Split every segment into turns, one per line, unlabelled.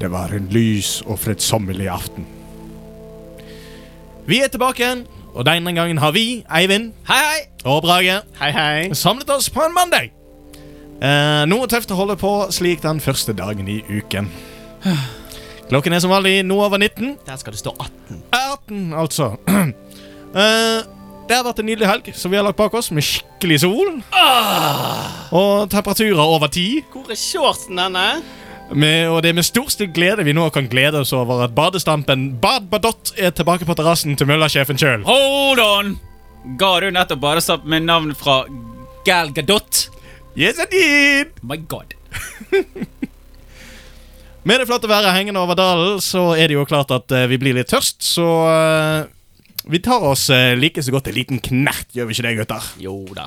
Det var en lys og fredsommelig aften.
Vi er tilbake igjen, og denne gangen har vi, Eivind Hei hei og Brage
Hei, hei.
samlet oss på en mandag. Eh, noe tøft å holde på slik den første dagen i uken. Klokken er som vanlig noe over 19.
Der skal det stå 18.
18, altså. Eh, det har vært en nydelig helg som vi har lagt bak oss, med skikkelig sol. Og temperaturer over 10.
Hvor er shortsen denne?
Med, og det er med storstilt glede vi nå kan glede oss over at badestampen Bad Badott er tilbake på terrassen til møllasjefen sjøl.
Hold on! Ga du nettopp bare satt med navn fra Gal Gadot?
Yes, indeed!
My god.
Med det flotte været hengende over dalen, så er det jo klart at eh, vi blir litt tørst, så eh, vi tar oss eh, like så godt en liten knert, gjør vi ikke det, gutter?
Jo da.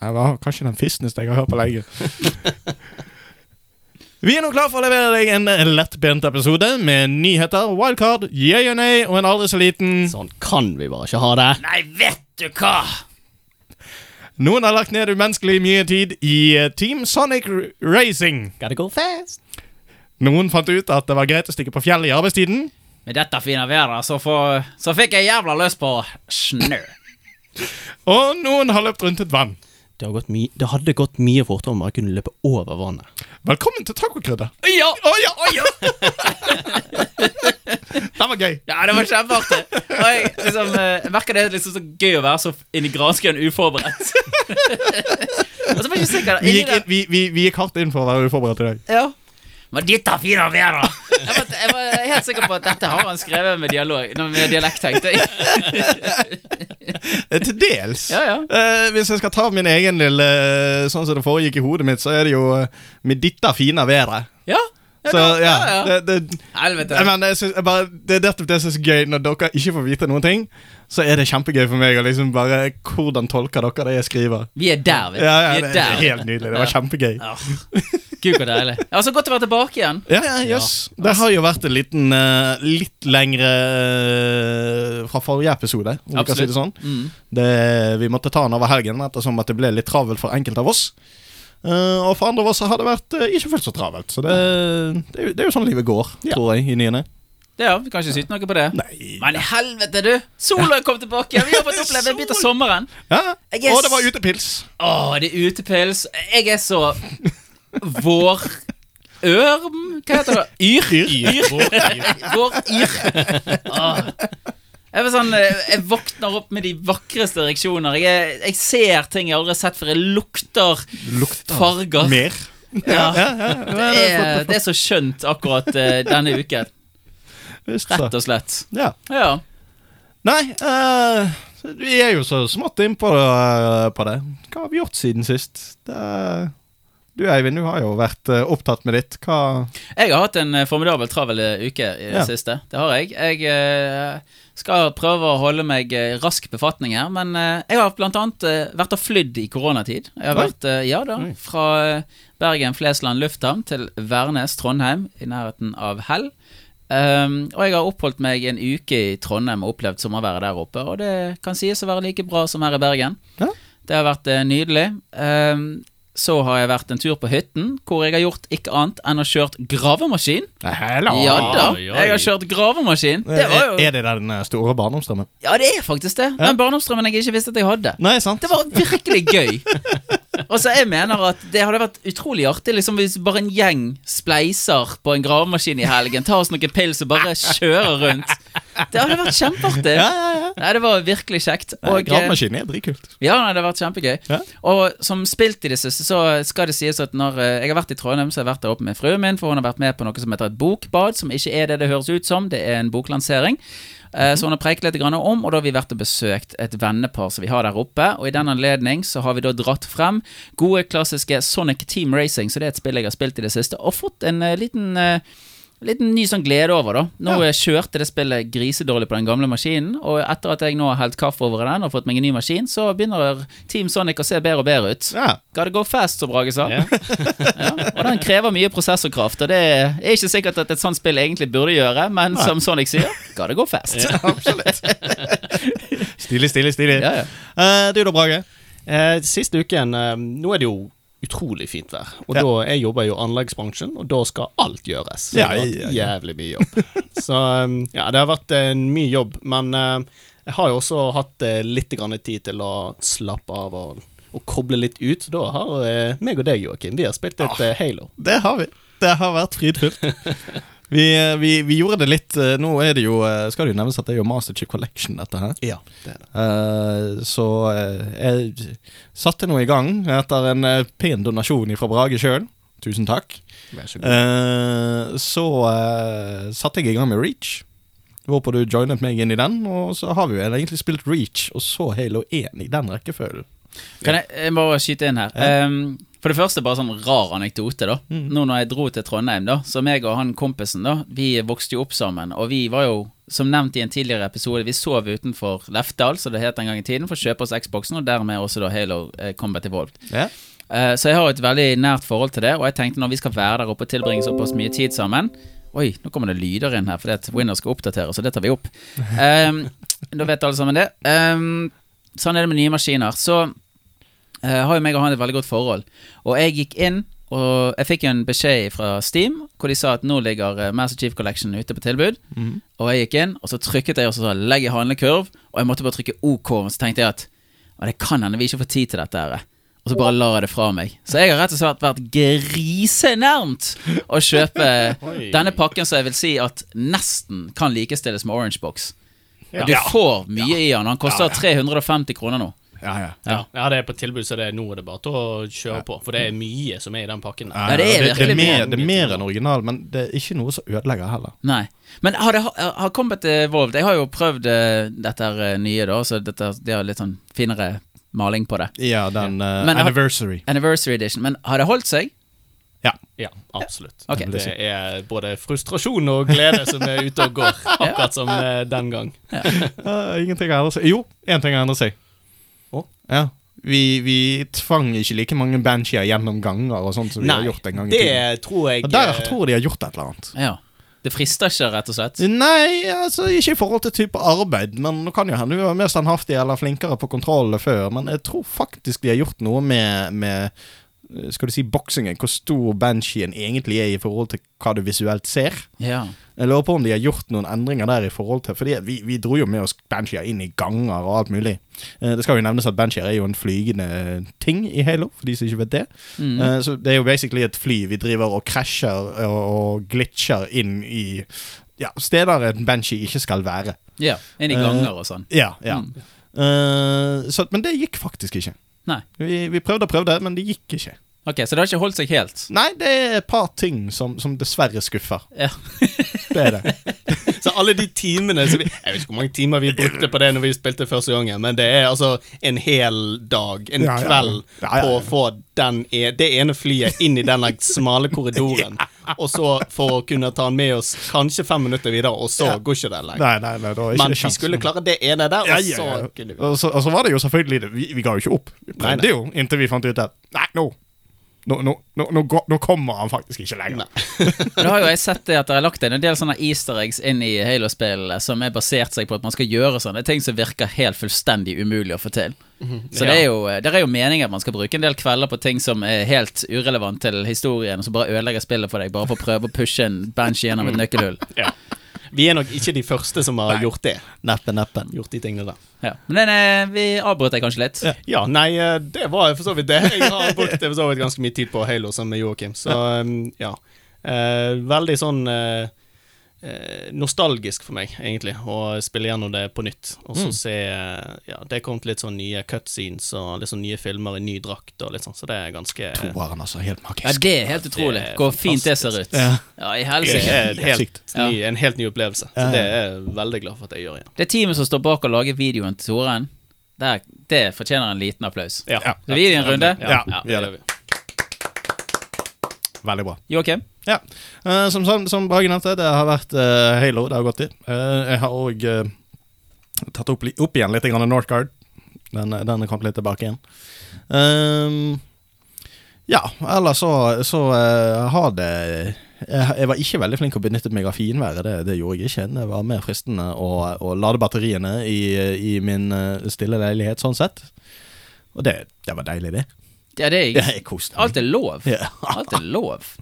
Det var kanskje den fistneste jeg har hørt på lenge. vi er nå klar for å levere deg en eh, lettbent episode med nyheter, wildcard, yeah og nay og en aldri så liten
Sånn kan vi bare ikke ha det. Nei, vet du hva!
Noen har lagt ned umenneskelig mye tid i eh, Team Sonic R- Racing.
Gotta go fast.
Noen fant ut at det var greit å stikke på fjellet i arbeidstiden.
Med dette fine været så, får- så fikk jeg jævla lyst på snø.
Og noen har løpt rundt et vann.
Det, hadde gått mye fortere om jeg kunne løpe over vannet.
Velkommen til Tacokrydder.
Ja!
Å ja, å ja! Den var gøy.
Ja, det var kjempeartig. Og jeg, liksom, eh, jeg merker det er liksom så gøy å være så inn i granskøen uforberedt. Og så var jeg ikke sikker
Vi
inni
gikk,
den-
inn, vi, vi, vi gikk hardt inn for å være uforberedt i dag.
Ja. Men dette fine været! Jeg var, jeg var helt sikker på at dette har han skrevet med dialog nei, Med dialekt, tenkte jeg.
Eh, Til dels.
Ja, ja.
Eh, hvis jeg skal ta min egen lille eh, Sånn som det foregikk i hodet mitt, så er det jo eh, med ditta fina været.
Ja, ja,
Så
da-
ja,
ja, ja.
det, det, jeg
Helvete.
mener, jeg synes, jeg bare, det er nettopp det som er så gøy. Når dere ikke får vite noen ting, så er det kjempegøy for meg å liksom bare Hvordan tolker dere det jeg skriver?
Vi er der, vet du.
Ja, ja,
Vi
det,
er
det er
der.
helt nydelig. Det var kjempegøy.
Ja. Gud, så deilig. Ja, Så godt å være tilbake igjen.
Ja, ja, jøss. Det har jo vært en liten eh, litt lengre eh, fra forrige episode. Om vi kan si det sånn.
Mm.
det, vi måtte ta den over helgen ettersom at det ble litt travelt for enkelte av oss. Eh, og for andre av oss så har det vært eh, ikke fullt så travelt. Så det,
Eh.
det, er jo, det er jo sånn livet går, tror jeg, i nyene.
Det, ja, vi kan ikke syte noe på det.
Nei
Men i helvete, du! Sola kom tilbake. igjen. Vi har fått oppleve en bit av sommeren.
ja.
Jeg
Og
er
det
s-
var utepils.
Åh, det er utepils. Jeg er så Vårørm? Hva heter det? Yr? Våryr. Åh. Jeg, var sånn, eh, jeg våkner opp med de vakreste reaksjoner. Jeg, er- jeg ser ting jeg aldri har sett før. Jeg lukter, farger.
Ah, Mer.
Ja.
Ja, ja,
Det, er, det er så skjønt akkurat eh, denne uken.
Visst, så.
Rett og slett.
Ja.
Ja.
Nei, eh, vi er jo så smått innpå uh, på det. Hva har vi gjort siden sist? Det, er- du Eivind, du har jo vært eh, opptatt med ditt. Hva
Jeg har hatt en eh, formidabel travel eh, uke i det
Ja.
siste. Det har jeg. Jeg eh, skal prøve å holde meg eh, rask befatning her, men eh, jeg har blant annet eh, vært og flydd i koronatid. Jeg har
Oi.
vært, eh, ja da,
Oi.
fra eh, Bergen Flesland lufthavn til Værnes Trondheim, i nærheten av Hell. Um, og jeg har oppholdt meg en uke i Trondheim og opplevd sommerværet der oppe, og det kan sies å være like bra som her i Bergen.
Ja.
Det har vært eh, nydelig. Um, så har jeg vært en tur på hytten, hvor jeg har gjort ikke annet enn å kjørt gravemaskin.
Hello.
Ja da,
oi.
jeg har kjørt gravemaskin. Det var jo
Er det den eh, store barndomsdrømmen?
Ja, det er faktisk det. Den barndomsdrømmen jeg ikke visste at jeg hadde.
Nei, sant?
Det var virkelig gøy. Altså, jeg mener at det hadde vært utrolig artig liksom hvis bare en gjeng spleiser på en gravemaskin i helgen, tar oss noen pils og bare kjører rundt. Det hadde vært kjempeartig.
Ja, ja, ja.
Nei, det var virkelig kjekt.
Og,
Og, eh,
Gravemaskin er dritkult.
ja, nei, det har vært kjempegøy.
Ja.
Og som spilt i det siste, så skal det sies at når eh, jeg har vært i Trondheim, så har jeg vært der oppe med fruen min, for hun har vært med på noe som heter et bokbad, som ikke er det det høres ut som, det er en boklansering. Eh, Så hun har preket litt grann om, og da har vi vært og besøkt et vennepar som vi har der oppe. Og i den anledning så har vi da dratt frem gode, klassiske Sonic Team Racing, så det er et spill jeg har spilt i det siste, og fått en eh, liten eh, Liten ny sånn glede over, da. Nå eh, kjørte det spillet grisedårlig på den gamle maskinen, og etter at jeg nå har helt kaffe over den og fått meg en ny maskin, så begynner Team Sonic å se bedre og bedre ut.
Ja.
Gotta go fast, som Brage sa. ja. Og den krever mye prosessorkraft, og det er ikke sikkert at et sånt spill egentlig burde gjøre, men som Sonic sier, gotta go fast. Ja.
Absolutt. stilig, stilig, stilig.
Ja,
Eh, du da, Brage?
Eh, siste uken eh, Nå er det jo utrolig fint vær. Og
Ja.
da, jeg jobber jo i anleggsbransjen, og da skal alt gjøres. Så
Ja,
det har vært
ja, ja.
jævlig mye jobb. Så um, ja, det har vært eh, mye jobb, men eh, jeg har jo også hatt eh, litt grann tid til å slappe av og, og koble litt ut. Så Da har eh, meg og deg, Joakim, vi har spilt
Ah.
litt eh, Halo.
Det har vi. Det har vært fridfullt. Vi, eh, vi, vi gjorde det litt eh, Nå er det jo eh, Skal det jo nevnes at det er jo Master Chief Collection, dette her.
Ja, det er det.
Eh, så eh, jeg satte nå i gang etter en eh, pen donasjon fra Brage sjøl. Tusen takk.
Vær så god.
Eh, så eh, satte jeg i gang med Reach. Hvorpå du joinet meg inn i den, og så har vi jo egentlig spilt Reach og så Halo 1 i den rekkefølgen.
Kan jeg, jeg må skyte inn her. Ehm, for det første bare sånn rar anekdote, da. Nå når jeg dro til Trondheim, da, så meg og han kompisen, da, vi vokste jo opp sammen. Og vi var jo, som nevnt i en tidligere episode, vi sov utenfor Lefdal, som det het den gang i tiden, for å kjøpe oss Xboxen, og dermed også da Halo eh, Combat Evolved.
Ja.
Eh, Så jeg har jo et veldig nært forhold til det, og jeg tenkte når vi skal være der oppe og tilbringe såpass mye tid sammen Oi, nå kommer det lyder inn her, fordi at Windows skal oppdatere, så det tar vi opp. Ehm, da vet alle sammen det. Ehm, sånn er det med nye maskiner. Så eh, har jo meg og han et veldig godt forhold. Og jeg gikk inn, og jeg fikk jo en beskjed fra Steam hvor de sa at nå ligger eh, Master Chief Collection ute på tilbud. Og jeg gikk inn, og så trykket jeg og så sa 'legg i handlekurv', og jeg måtte bare trykke OK. Og så tenkte jeg at «Å, det kan hende vi ikke får tid til dette her. Og så bare lar jeg det fra meg. Så jeg har rett og slett vært grisenærmt å kjøpe
Oi.
denne pakken som jeg vil si at nesten kan likestilles med Orange Box.
Ja.
Du får mye i den. Han koster 350 kroner nå.
Ja, ja.
Ja. det er på tilbud, så det er nå er det bare til å kjøre på. For det er mye som er i den pakken.
Ja, det er
det,
virkelig
er mer,
mye.
det er mer enn original, men det er ikke noe som ødelegger heller.
Nei. Men har, det, har Combat Evolved Jeg har jo prøvd eh, dette her, eh, nye, da, så dette, det har litt sånn finere maling på det.
Ja, den eh,
Men jeg har-
Anniversary.
Anniversary Edition. Men har det holdt seg?
Ja, absolutt.
Ok.
Det er både frustrasjon og glede som er ute og går, akkurat som eh, den gang.
Eh, ingenting har endret seg. Jo, én ting har endret seg.
Å?
Ja. Vi, vi tvang ikke like mange bansheer gjennom ganger og sånt som vi har gjort en gang i tiden.
det tror jeg
Og der
eh,
tror jeg de har gjort et eller annet.
Ja. Det frister ikke, rett og slett?
Nei, altså ikke i forhold til type arbeid, men det kan jo hende du var mer standhaftig eller flinkere på kontrollene før. Men jeg tror faktisk de har gjort noe med, med eh, skal du si, boksingen. Hvor stor bansheen egentlig er i forhold til hva du visuelt ser.
Ja.
Jeg lurer på om de har gjort noen endringer der i forhold til Fordi vi, vi dro jo med oss Bansheer inn i ganger og alt mulig. Eh, Det skal jo nevnes at Bansheer er jo en flygende ting i Halo, for de som ikke vet det.
Mm.
Eh, Så det er jo basically et fly vi driver og krasjer og, og glitcher inn i ja, steder en Banshee ikke skal være.
ja. Inn i ganger og sånn.
Ja, ja.
Mm.
Eh, så, men det gikk faktisk ikke.
Nei.
Vi, vi prøvde og prøvde, men det gikk ikke.
Ok, Så det har ikke holdt seg helt?
Nei, det er et par ting som, som dessverre skuffer.
Ja.
Det er det.
eh, Så alle de timene som vi, Jeg vet ikke hvor mange timer vi brukte på det når vi spilte første gangen, men det er altså en hel dag, en
Ja, ja.
kveld,
Ja, ja, ja.
på å få den, e- det ene flyet inn i den smale korridoren, og så for å kunne ta den med oss kanskje fem minutter videre, og så går ikke det lenger.
Nei, nei, nei, da er ikke
Men
det
vi
sjans.
skulle klare det ene der,
Ja,
og
ja, ja.
så kunne vi
Og så, og så var det jo selvfølgelig det. Vi, vi ga jo ikke opp. Vi
Nei,
prøvde
nei.
jo inntil vi fant ut at Nei, nå Nå, nå, nå, nå, går- nå kommer han faktisk ikke lenger.
Nei.
Men Da har jo jeg sett det at det er lagt inn en del sånne easter eggs inn i Halo-spillene som er basert seg på at man skal gjøre sånne ting som virker helt fullstendig umulig å få til.
Mhm.
Så det er jo, det er jo meningen at man skal bruke en del kvelder på ting som er helt irrelevant til historien, og som bare ødelegger spillet for deg, bare for å prøve å pushe en bench gjennom et nøkkelhull.
Vi er nok ikke de første som har gjort det.
Neppe, neppe.
Gjort de tingene der.
Ja. Men den, eh, vi avbrøt deg kanskje litt.
Ja, nei, eh, det var for så vidt det. Jeg har brukt for så vidt ganske mye tid på Halo sammen med Joakim, så um, ja. Eh, veldig sånn eh, eh, nostalgisk for meg, egentlig, å spille gjennom det på nytt. Og så se eh, Ja, det er kommet litt sånn nye cutscenes og litt sånn nye filmer i ny drakt og litt sånn, så det er ganske
Toeren, altså. Helt
Ja,
magisk.
det er helt utrolig
Det er
hvor fint det ser
fantastisk.
ut. Ja, i
Det
helsike.
er helt,
Ja.
ny, en helt ny opplevelse. Så det er jeg veldig glad for at jeg gjør igjen.
Det teamet som står bak å lage videoen til Toren, det, det fortjener en liten applaus.
Ja.
Skal vi gi det en runde?
Ja,
Ja,
det gjør vi.
Veldig bra.
Joakim?
Ja. eh, som som, som Brage nevnte, det har vært eh, Halo det har gått i. Eh, jeg har òg tatt opp, li- opp igjen litt grann Northgard. Den, eh, den kom litt tilbake igjen. Ehm, ja, ellers så, så eh, har det jeg, jeg var ikke veldig flink å benytte meg av finværet, det, det gjorde jeg ikke. Det var mer fristende å, å lade batteriene i, i min eh, stille leilighet, sånn sett. Og det, det var deilig, det.
Ja, det er
Ja,
jeg.
jeg koste meg.
Alt er lov.
Ja.
Alt er lov.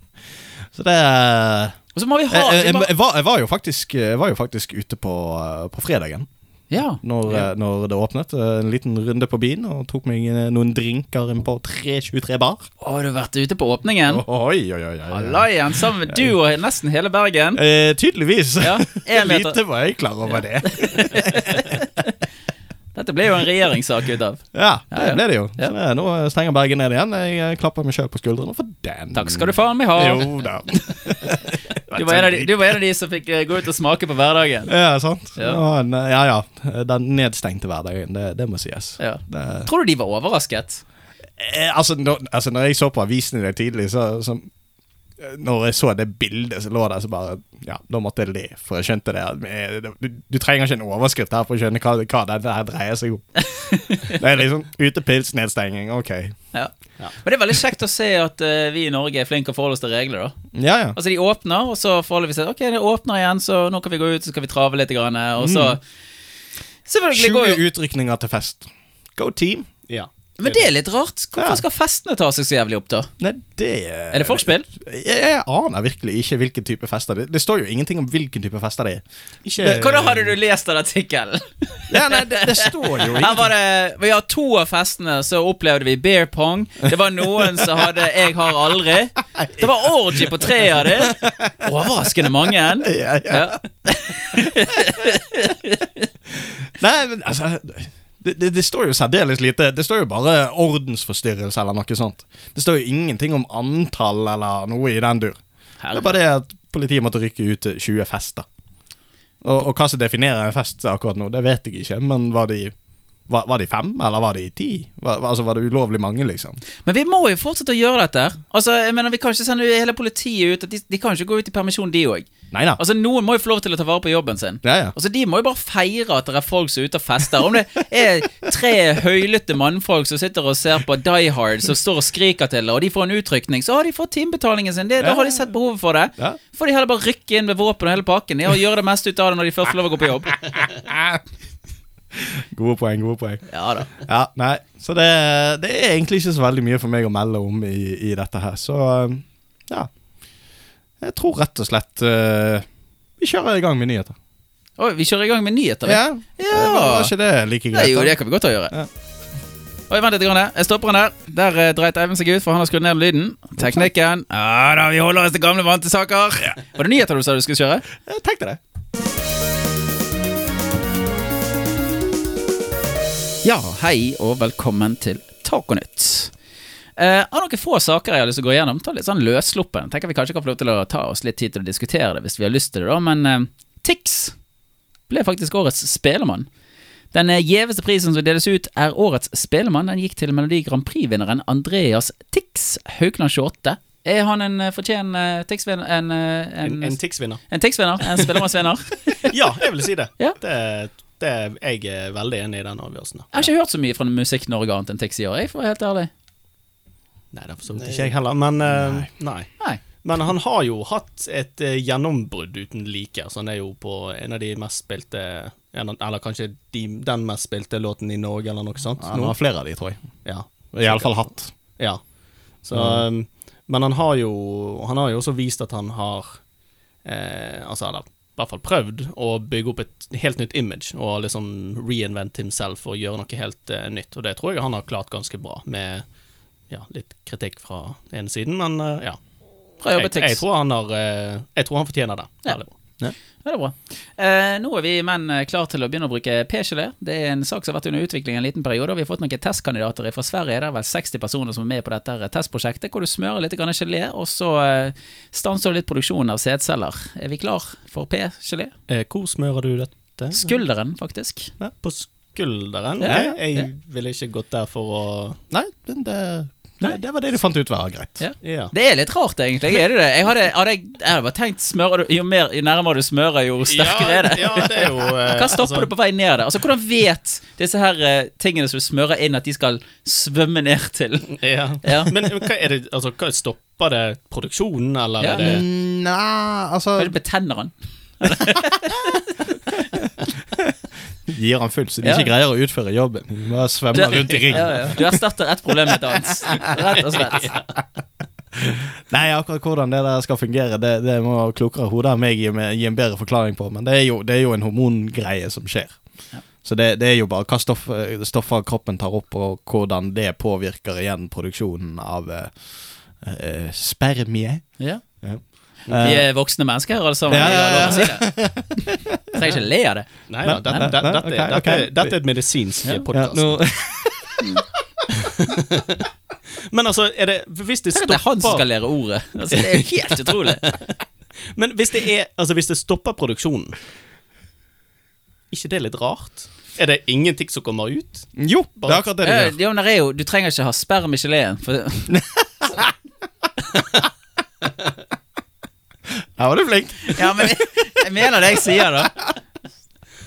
Så det er
Og så må vi ha
jeg,
vi
jeg,
må-
Eh, jeg, var, jeg, var jo faktisk, eh, jeg var jo faktisk ute på, eh, på fredagen
Ja.
når, eh, når det åpnet. Eh, En liten runde på byen og tok meg eh, noen drinker inn på 323 bar.
Å, du har vært ute på åpningen.
Oi, oi, oi, oi, oi.
Allian sammen med du og nesten hele Bergen.
Eh, tydeligvis.
Ja, en meter.
Lite var jeg klar over det.
Dette ble jo en regjeringssak ut av.
Ja,
Ja, ja.
det ble det jo.
Ja.
Så det, nå stenger Bergen ned igjen. Jeg eh, klapper meg sjøl på skuldrene for den.
Takk skal du faen meg ha.
Jo da.
Du var, en av de, du var en av de som fikk eh, gå ut og smake på hverdagen.
Ja, sant.
Ja.
Ja, ne- eh, ja. ja. Den nedstengte hverdagen, det, det må sies.
Ja.
Det,
Tror du de var overrasket?
eh, altså, når, altså, når jeg så på avisen i dag tidlig, så, så eh, Når jeg så det bildet som lå der, så bare Ja, da måtte jeg le, for jeg skjønte det. at, eh, Du, du trenger ikke en overskrift her for å skjønne hva, hva dette her dreier seg om. det er liksom utepils, nedstenging, ok.
Ja.
Ja.
Men det er veldig kjekt å se at eh, vi i Norge er flinke å forholde oss til regler. da
Ja, ja.
Altså De åpner, og så forholder vi seg Ok, det åpner igjen, så nå kan vi gå ut, så skal vi trave litt. Grann, eh, og
Mm.
så Selvfølgelig
20
går jo
utrykninger til fest. Go team.
Ja.
Men det er litt rart.
Ja.
Hvorfor skal festene ta seg så jævlig opp, da?
Nei, det
Er det forspill?
Jeg, jeg aner virkelig ikke hvilken type fester det er. Det står jo ingenting om hvilken type fester det er.
Ikke
Hvordan hadde du lest den artikkelen?
Ja, nei, det, det står jo
Her var det Vi har to av festene, så opplevde vi beer pong. Det var noen som hadde 'jeg har aldri'. Det var orgy på tre av dem. Overraskende mange.
Ja, ja.
Ja.
Nei, men altså det, det, det står jo særdeles lite. Det står jo bare ordensforstyrrelse eller noe sånt. Det står jo ingenting om antall eller noe i den dur. Det er bare det at politiet måtte rykke ut til 20 fester. Og, og hva som definerer en fest akkurat nå, det vet jeg ikke, men var de var, var de fem, eller var de ti? Var, var- altså, var det ulovlig mange, liksom?
Men vi må jo fortsette å gjøre dette. her. Altså, jeg mener, Vi kan ikke sende hele politiet ut. at De, de kan ikke gå ut i permisjon, de òg.
Nei da.
Altså, noen må jo få lov til å ta vare på jobben sin.
Ja, ja.
Altså, De må jo bare feire at det er folk som er ute og fester. Om det er tre høylytte mannfolk som sitter og ser på Die Hard, som står og skriker til det, og de får en utrykning, så har de fått timebetalingen sin. Det, Da har de sett behovet for det.
Ja.
Får de heller bare rykke inn med våpen og hele pakken ja, og gjøre det meste ut av det når de først får lov å gå på jobb.
Gode poeng, gode poeng.
Ja da.
Ja, nei, så det, det er egentlig ikke så veldig mye for meg å melde om i, i dette her, så um, ja. Jeg tror rett og slett uh, vi kjører i gang med nyheter.
Oi, vi kjører i gang med nyheter. vi.
Ja, Eh,
Ja.
Var ikke det like
Nei,
greit?
jo,
da?
det kan vi godt gjøre.
Ja.
Oi, vent litt. Grann. her. Jeg stopper den der. Der eh, dreit Eivind seg ut, for han har skrudd ned lyden. Teknikken Ja da, vi holder oss til gamle, vante saker. Var det nyheter du sa du skulle kjøre?
Jeg tenkte det.
Ja, hei og velkommen til Taconytt. Eh, av noen få saker jeg har lyst til å gå gjennom, ta litt sånn løssluppen. Tenker vi kanskje kan få lov til å ta oss litt tid til å diskutere det hvis vi har lyst til det, da. Men eh, Tix ble faktisk årets spelemann. Den eh, gjeveste prisen som deles ut, er årets spelemann. Den gikk til Melodi Grand Prix-vinneren Andreas Tix Haukeland 28. Er han en eh, fortjent eh, Tix-vinner? En, eh,
En, en
en,
Tix-vinner.
en Tix-vinner? En spelemannsvinner?
Ja, jeg vil si det.
Ja.
det, det jeg er veldig enig i den avgjørelsen.
Jeg har ikke hørt så mye fra Musikk-Norge annet enn Tix i år, jeg, for å være helt ærlig.
Nei, det er for så vidt ikke jeg heller, men eh, nei.
Nei.
Men han har jo hatt et eh, gjennombrudd uten like. Så han er jo på en av de mest spilte en, av- Eller kanskje de, den mest spilte låten i Norge, eller noe sånt.
Ja, nå
nå.
har flere av de, tror jeg.
Ja.
Iallfall hatt.
ja. Så, um, men han har jo Han har jo også vist at han har eh, Altså, eller i hvert fall prøvd å bygge opp et helt nytt image og liksom reinvente himself og gjøre noe helt eh, nytt. Og det tror jeg han har klart ganske bra, med ja, litt kritikk fra den ene siden, men eh, ja.
Fra
Jeg,
jobbet Tix.
jeg, tror han har, eh, jeg tror han fortjener det.
Ja.
Veldig bra.
Ja, det er bra. Eh, nå er vi menn eh, klar til å begynne å bruke p-gelé. Det er en sak som har vært under utvikling en liten periode. og Vi har fått noen testkandidater fra Sverige. Det er vel 60 personer som er med på dette her testprosjektet, hvor du smører litt grann gelé, og så eh, stanser du litt produksjonen av sædceller. Er vi klar for p-gelé?
Eh, hvor smører du dette?
Skulderen, faktisk.
Ja, på skulderen?
Ja, ja,
Ok, Jeg ville ikke gått der for å
Nei, men det, det, det var det du fant ut var greit.
Ja.
Ja.
Det er litt rart, egentlig. Er det det? Jeg hadde, hadde, jeg, jeg hadde bare tenkt smører du, Jo mer jo nærmere du smører, jo sterkere er det.
Ja, ja, det er jo eh,
Hva stopper
altså,
du på vei ned der? Altså, Hvordan vet disse her eh, tingene som du smører inn, at de skal svømme ned til
Ja.
Ja.
Men hva er det altså, hva Stopper det produksjonen, eller
Ja. Mm.
er det
Nja, altså
Kanskje betenner han?
gir han fullt, så de
Ja.
ikke greier å utføre jobben. De bare svømmer rundt i ring.
Ja, ja. Du erstatter ett problem med et annet. Rett og slett.
Nei, akkurat hvordan det der skal fungere, det, det må klokere hoder enn meg gi, meg- gi en bedre forklaring på, men det er jo, det er jo en hormongreie som skjer.
Ja.
Så det, det er jo bare hva stoff, eh, stoffer kroppen tar opp, og hvordan det påvirker igjen produksjonen av eh, eh, spermie.
Ja.
Eh,
Vi er voksne mennesker her, alle sammen.
Ja, ja, ja.
Vi har lov å si det. Trenger ikke le av det.
Nei da, dette,
nei,
dette,
nei,
dette,
ok,
dette,
ok.
dette er et medisinsk
Ja.
ja,
podkast.
nå,
Men altså, er det, hvis det
Tenk at det er han som skal
stopper
lære ordet. Altså, det er jo helt utrolig.
Men hvis det, er, altså, hvis det stopper produksjonen ikke det litt rart? Er det ingenting som kommer ut?
jo, det er akkurat det det
Ja,
gjør.
Jo, men det er jo, du trenger ikke ha sperm i geleen. For,
Her var du flink.
ja, men jeg mener det jeg sier, da.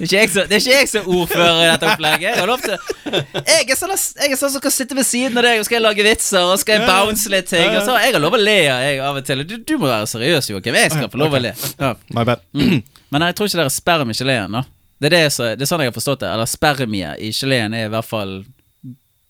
Det er ikke jeg som- det er ikke jeg som ordfører i dette opplegget. Jeg har lov til Jeg er sånn jeg er sånn som kan sitte ved siden av deg, og skal jeg lage vitser, og skal jeg bounce litt ting. Og så, jeg har lov å le av jeg av og til. Du, du må være seriøs, Joakim. Jeg skal få lov å le. Ja.
My bad.
Men jeg tror ikke det er sperm i geleen, da. Det er, det, som- det er sånn jeg har forstått det. Eller spermie i geleen er i hvert fall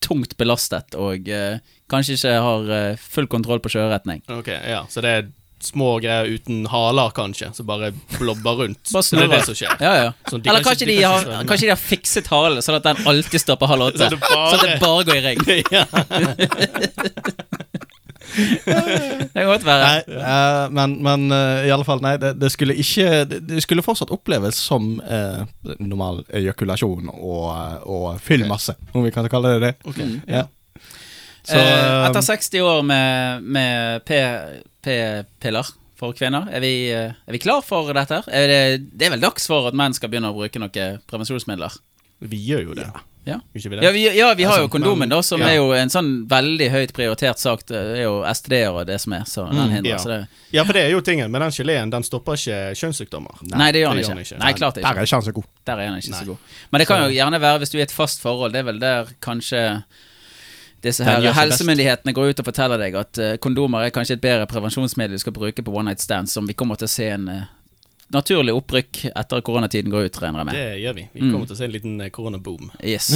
tungt belastet og eh, kanskje ikke har eh, full kontroll på sjøretning.
Ok, ja, Så det er små greier uten haler, kanje, som bare blobber rundt?
Bare
Så det er
snurrer.
det som skjer?
Ja, ja.
Så de
Eller
kan ikke-
kanskje
de
de,
kan
har,
ikke svømme.
kanskje de har fikset halen, sånn at den alltid står på halv åtte.
Så det bare-
Sånn at det bare går i ring.
Ja.
Det kan godt være.
Nei, eh, men, men eh, i alle fall, nei, det, det skulle ikke Det, det skulle fortsatt oppleves som eh, normal ejakulasjon og, eh, og fyllmasse, om vi kan kalle det det.
Mm.
Ja. Så
eh,
eh,
etter 60 år med, med P- p-piller for kvinner, er vi, eh, er vi klar for dette? her? Er det, det er vel dags for at menn skal begynne å bruke noen prevensjonsmidler?
Vi gjør jo det.
Ja.
Gjør ikke vi det?
Ja, vi, ja, sånn, vi har jo
sant, men-
kondomen, da, som
ja.
er jo en sånn veldig høyt prioritert sak. Det er jo STD-er og det som er, så den hindrer.
ja.
Så det,
Ja, for det er jo tingen, men den geleen den stopper ikke kjønnssykdommer.
nei, det gjør den ikke. Nei, klart det
der
ikke.
er sjansen god.
Der er den ikke
Nei.
så god. Men det kan jo gjerne være, hvis du er i et fast forhold, det er vel der kanskje disse
Den
her
gjør seg best.
helsemyndighetene går ut og forteller deg at eh, kondomer er kanskje et bedre prevensjonsmiddel du skal bruke på one night stands, som vi kommer til å se en eh, naturlig opprykk etter koronatiden går ut, regner jeg med.
Det gjør vi.
Mm.
Vi kommer til å se en liten eh, koronaboom.
Yes.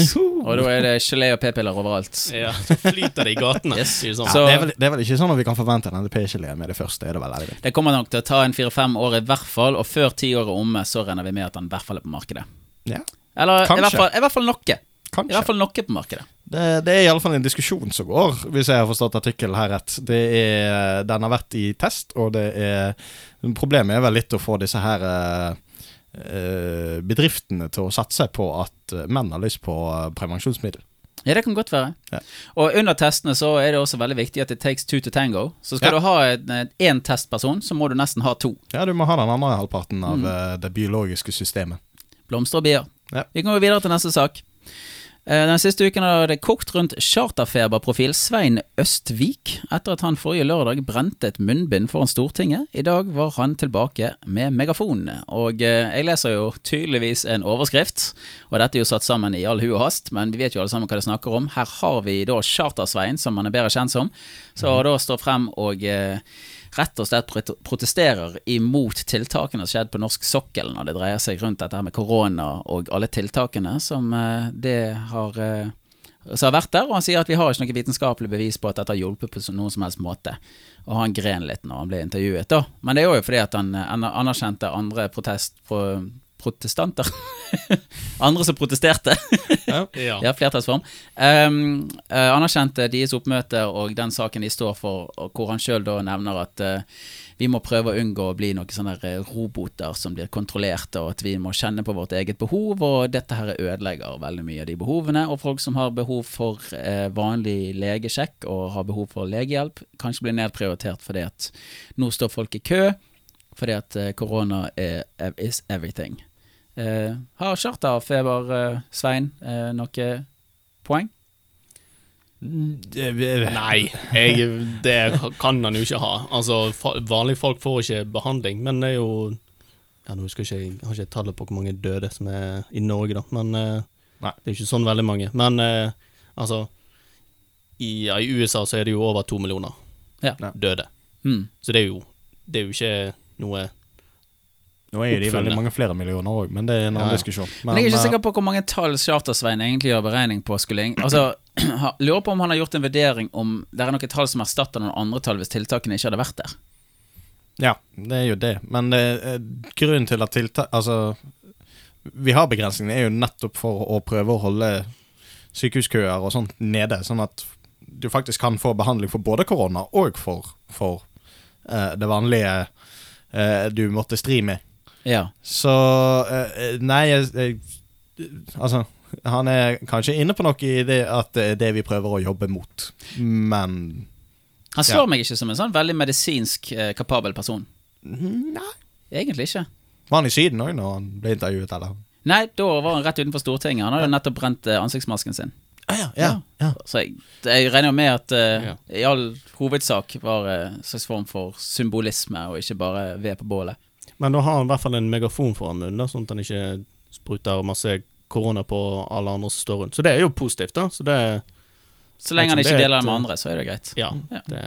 Og da er det gelé og p-piller overalt.
Ja, så flyter det i gatene.
Yes.
sier det sånn.
Så-
det, er vel, det er vel ikke sånn at vi kan forvente denne p-geleen med det første. er det vel, er det det?
Det kommer nok til å ta en fire-fem år i hvert fall, og før ti år er omme, så regner vi med at den i hvert fall er på markedet.
Ja,
Eller i
Kanskje.
hvert, fall, i hvert fall noe. I
kanskje.
hvert fall noe på markedet.
Det, det er i alle fall en diskusjon som går, hvis jeg har forstått artikkelen her rett. Det er, den har vært i test, og det er Problemet er vel litt å få disse her eh, eh, bedriftene til å satse på at eh, menn har lyst på eh, prevensjonsmiddel.
Ja, det kan godt være.
Ja.
Og under testene så er det også veldig viktig at det takes two to tango. Så skal
Ja.
du ha en- en- én testperson, så må du nesten ha to.
Ja, du må ha den andre halvparten av
Mm.
eh, det biologiske systemet.
Blomster og bier.
Ja.
Vi kan gå videre til neste sak. Eh, Den siste uken har det kokt rundt charterfeberprofil Svein Østvik etter at han forrige lørdag brente et munnbind foran Stortinget. I dag var han tilbake med megafon. Og eh, jeg leser jo tydeligvis en overskrift, og dette er jo satt sammen i all hu og hast, men vi vet jo alle sammen hva det snakker om. Her har vi da Charter-Svein, som han er bedre kjent som, så da står frem og eh, rett og slett prot- protesterer imot tiltakene som har skjedd på norsk sokkel når det dreier seg rundt dette her med korona og alle tiltakene som eh, det har eh, som har vært der, og han sier at vi har ikke noe vitenskapelig bevis på at dette har hjulpet på noen som helst måte. Og han gren litt når han ble intervjuet, da. Men det er jo fordi at han eh, aner- anerkjente andre protest... Pro, protestanter? andre som protesterte.
Ja.
Ja, flertallsform. Um, eh, anerkjente deres oppmøte og den saken de står for, og hvor han sjøl da nevner at eh, vi må prøve å unngå å bli noen sånne her, eh, roboter som blir kontrollert, og at vi må kjenne på vårt eget behov, og dette her ødelegger veldig mye av de behovene. Og folk som har behov for eh, vanlig legesjekk og har behov for legehjelp, kanskje blir nedprioritert fordi at nå står folk i kø fordi at eh, korona er ev- is everything. Eh, har charterfeber, uh, Svein, uh, noe poeng? Mm,
Nei, jeg, det kan han jo ikke ha. Altså, fa- Vanlige folk får ikke behandling, men det er jo ja, nå husker jeg, ikke, jeg har ikke tallet på hvor mange døde som er i Norge, da, men eh,
Nei.
det er ikke sånn veldig mange. Men eh, altså i, ja, I USA så er det jo over to millioner
Ja.
Ja.
døde,
Hmm.
så det er jo, det er jo ikke noe
Nå er jo de
Oppfølgende.
veldig mange flere millioner òg, men det er en
Ja,
annen
ja.
diskusjon.
Men jeg er ikke
eh,
sikker på hvor mange tall Charter-Svein egentlig gjør beregning på. skulle jeg- Altså, ha- Lurer på om han har gjort en vurdering om det er noen tall som erstatter noen andre tall hvis tiltakene ikke hadde vært der.
Ja, det er jo det. Men eh, grunnen til at tiltak Altså, vi har begrensningene er jo nettopp for å prøve å holde sykehuskøer og sånt nede, sånn at du faktisk kan få behandling for både korona og for, for eh, det vanlige eh, du måtte stri med.
Ja,
Så eh, Nei, jeg, jeg Altså, han er kanskje inne på noe i det at det er det vi prøver å jobbe mot, men
Han slår
Ja.
meg ikke som en sånn veldig medisinsk eh, kapabel person.
Nei.
Egentlig ikke.
Var han i Syden òg når han ble intervjuet, eller?
Nei, da var han rett utenfor Stortinget. Han hadde jo nettopp brent eh, ansiktsmasken sin.
Ah, ja,
ja,
ja.
Så jeg, jeg regner jo med at eh,
Ja.
i all hovedsak var eh, en slags form for symbolisme, og ikke bare ved på bålet.
Men nå har han i hvert fall en megafon foran munnen, da, sånn at han ikke spruter masse korona på alle andre som står rundt. Så det er jo positivt, da. Så det
Så lenge han
Liksom,
ikke
det er
deler det
et,
med
eh,
andre, så er det greit.
Ja.
Ja.
Det,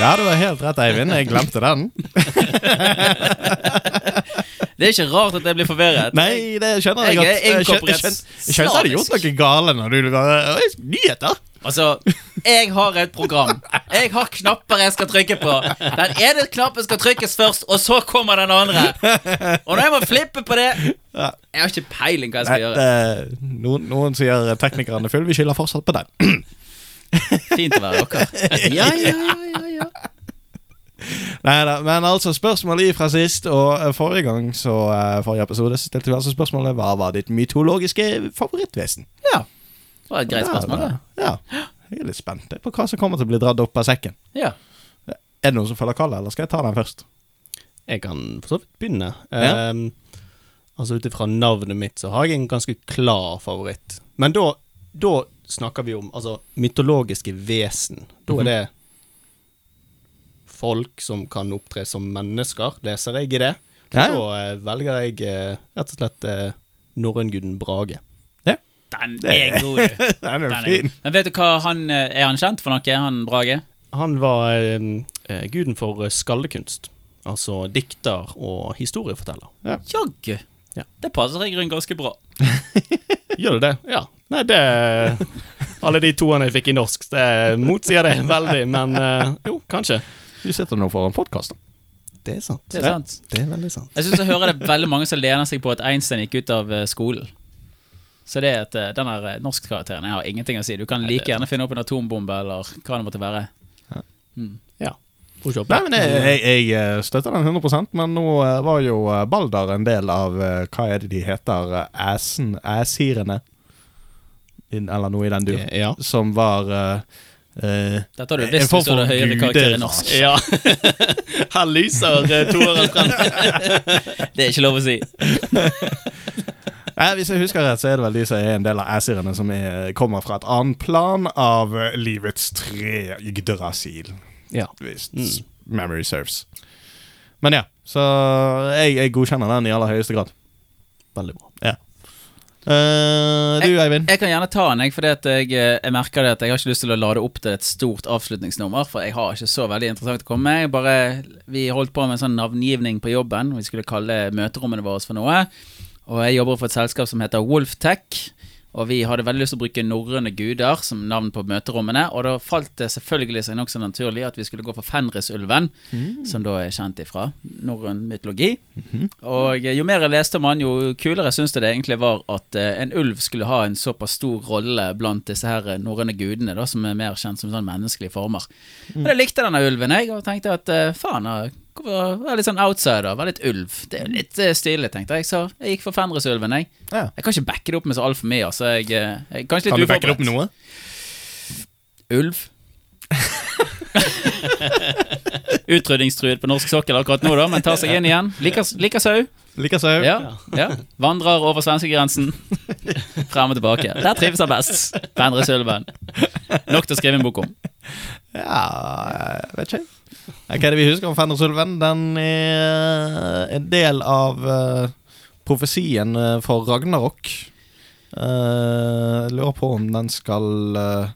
Ja, du har helt rett, Eivind. Jeg glemte den.
Det er ikke rart at jeg blir forvirret.
Nei, det skjønner jeg
Jeg
godt.
er
Jeg skjønte jeg
inkorporert
skjøn- jeg skjønte jeg hadde gjort noe gale når du bare «Oi, Nyheter!
Altså, jeg har et program. Jeg har knapper jeg skal trykke på. Den ene knappen skal trykkes først, og så kommer den andre. Og når jeg må flippe på det Jeg har ikke peiling hva jeg
Nei,
skal gjøre.
det- noen, eh, noen sier teknikeren er full. Vi skylder fortsatt på den.
Fint å være dere. Ja, ja, ja, ja, ja.
Neida, men altså, spørsmålet fra sist og eh, forrige gang, så eh, forrige episode, så stilte vi altså spørsmålet hva var ditt mytologiske favorittvesen?
ja. Det var et greit spørsmål, det.
Ja. Jeg er litt spent på hva som kommer til å bli dratt opp av sekken.
Ja.
Er det noen som følger kallet, eller skal jeg ta den først?
jeg kan for så vidt begynne.
Ja.
Ehm, altså ut ifra navnet mitt så har jeg en ganske klar favoritt. Men da, da snakker vi om altså, mytologiske vesen. Da
Mhm.
er det folk som kan opptre som mennesker, leser jeg i det.
Ja, ja.
Så eh, velger jeg eh, rett og slett uh, norrønguden Brage.
Den er god, du.
Den
Den er god. Men vet du hva han eh, Er han kjent for noe, han Brage?
Han var eh, eh, guden for eh, skaldekunst. Altså dikter og historieforteller.
Jaggu.
Ja.
Det passer i grunnen ganske bra.
Gjør du det? Ja. Nei, det Alle de toene jeg fikk i norsk, det motsier det veldig, men eh, jo, kanskje.
Du sitter nå foran podkast, da.
Det er sant.
Det er sant.
Det er veldig sant.
Jeg syns jeg hører det er veldig mange som lener seg på at Einstein gikk ut av eh, skolen. Så det at eh, den der eh, norskkarakteren jeg har ingenting å si. Du kan like gjerne finne opp en atombombe eller hva det måtte være. Mm.
Ja. Får se opp.
Nei, men jeg, jeg, jeg eh, støtter den 100 men nå eh, var jo eh, Balder en del av eh, Hva er det de heter? eh, Æsen? Æsirene? In- Eller noe i
Mm.
den duren.
Ja.
Som var eh, eh,
Dette har du
En
visst
form
hvis du hadde
for
høyere karakter i norsk.
ja. Her lyser eh, toeren frem.
Det er ikke lov å si.
Nei, Hvis jeg husker rett, så er det vel de som er en del av æsirene, som er, kommer fra et annet plan av eh, livets tre Yggdrasil.
Ja.
Hvis
Mm.
memory serves. Men ja, så jeg, jeg godkjenner den i aller høyeste grad.
Veldig bra.
Eh, du, Eivind?
Jeg kan gjerne ta den, jeg, fordi at jeg, eh, jeg merker det at jeg har ikke lyst til å lade opp til et stort avslutningsnummer, for jeg har ikke så veldig interessant å komme med. Jeg Bare, vi holdt på med en sånn navngivning på jobben, vi skulle kalle møterommene våre for noe. Og jeg jobber for et selskap som heter Wolftech. Og vi hadde veldig lyst til å bruke norrøne guder som navn på møterommene. Og da falt det selvfølgelig seg nokså naturlig at vi skulle gå for Fenrisulven,
Mm.
Mm.
som da er kjent ifra norrøn mytologi.
Mhm.
Og eh, jo mer jeg leste om han, jo kulere syntes jeg det egentlig var at eh, en ulv skulle ha en såpass stor rolle blant disse her eh, norrøne gudene, da, som er mer kjent som sånn menneskelige former.
Mm.
Men jeg likte denne ulven, jeg, og tenkte at eh, faen, eh, hvorfor være litt sånn outsider, være litt ulv. Det er jo litt eh, stilig, tenkte jeg, så jeg gikk for Fenrisulven, jeg.
Ja.
Jeg kan ikke backe det opp med så altfor mye. Altså. Jeg, eh, jeg er kanskje litt
Kan du backe det opp med noe?
Ulv. Utrydningstruet på norsk sokkel akkurat nå, da, men tar seg inn igjen. Liker, liker sau.
Likaså.
Ja, ja. Vandrer over svenskegrensen. Frem og tilbake. Der trives han best. Fenrisulven. Nok til å skrive en bok om.
Ja, jeg vet ikke. Hva er det vi husker om Fenrisulven? Den er en del av eh, profesien eh, for Ragnarok. Eh, Jeg lurer på om den skal eh,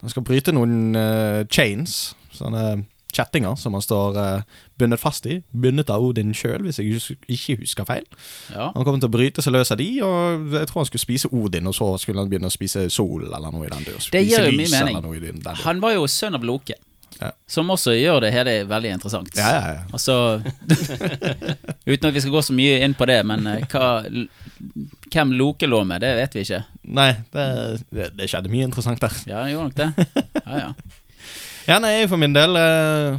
Den skal bryte noen eh, chains. Sånne kjettinger som han står eh, bundet fast i. Bundet av Odin sjøl, hvis jeg hus- ikke husker feil.
Ja.
Han kommer til å bryte seg løs av de, og jeg tror han skulle spise Odin, og så skulle han begynne å spise sol eller noe i den dør.
Det gir jo mye mening.
Noe i den dør.
Han var jo sønn av Loke,
Ja.
som også gjør det hele veldig interessant.
Ja, ja, ja.
Altså Uten at vi skal gå så mye inn på det, men eh, hva, l- hvem Loke lå med, det vet vi ikke.
Nei, det, det, det skjedde mye interessant der.
Ja, han gjorde nok det. Ja, ja.
Ja, nei, for min del eh,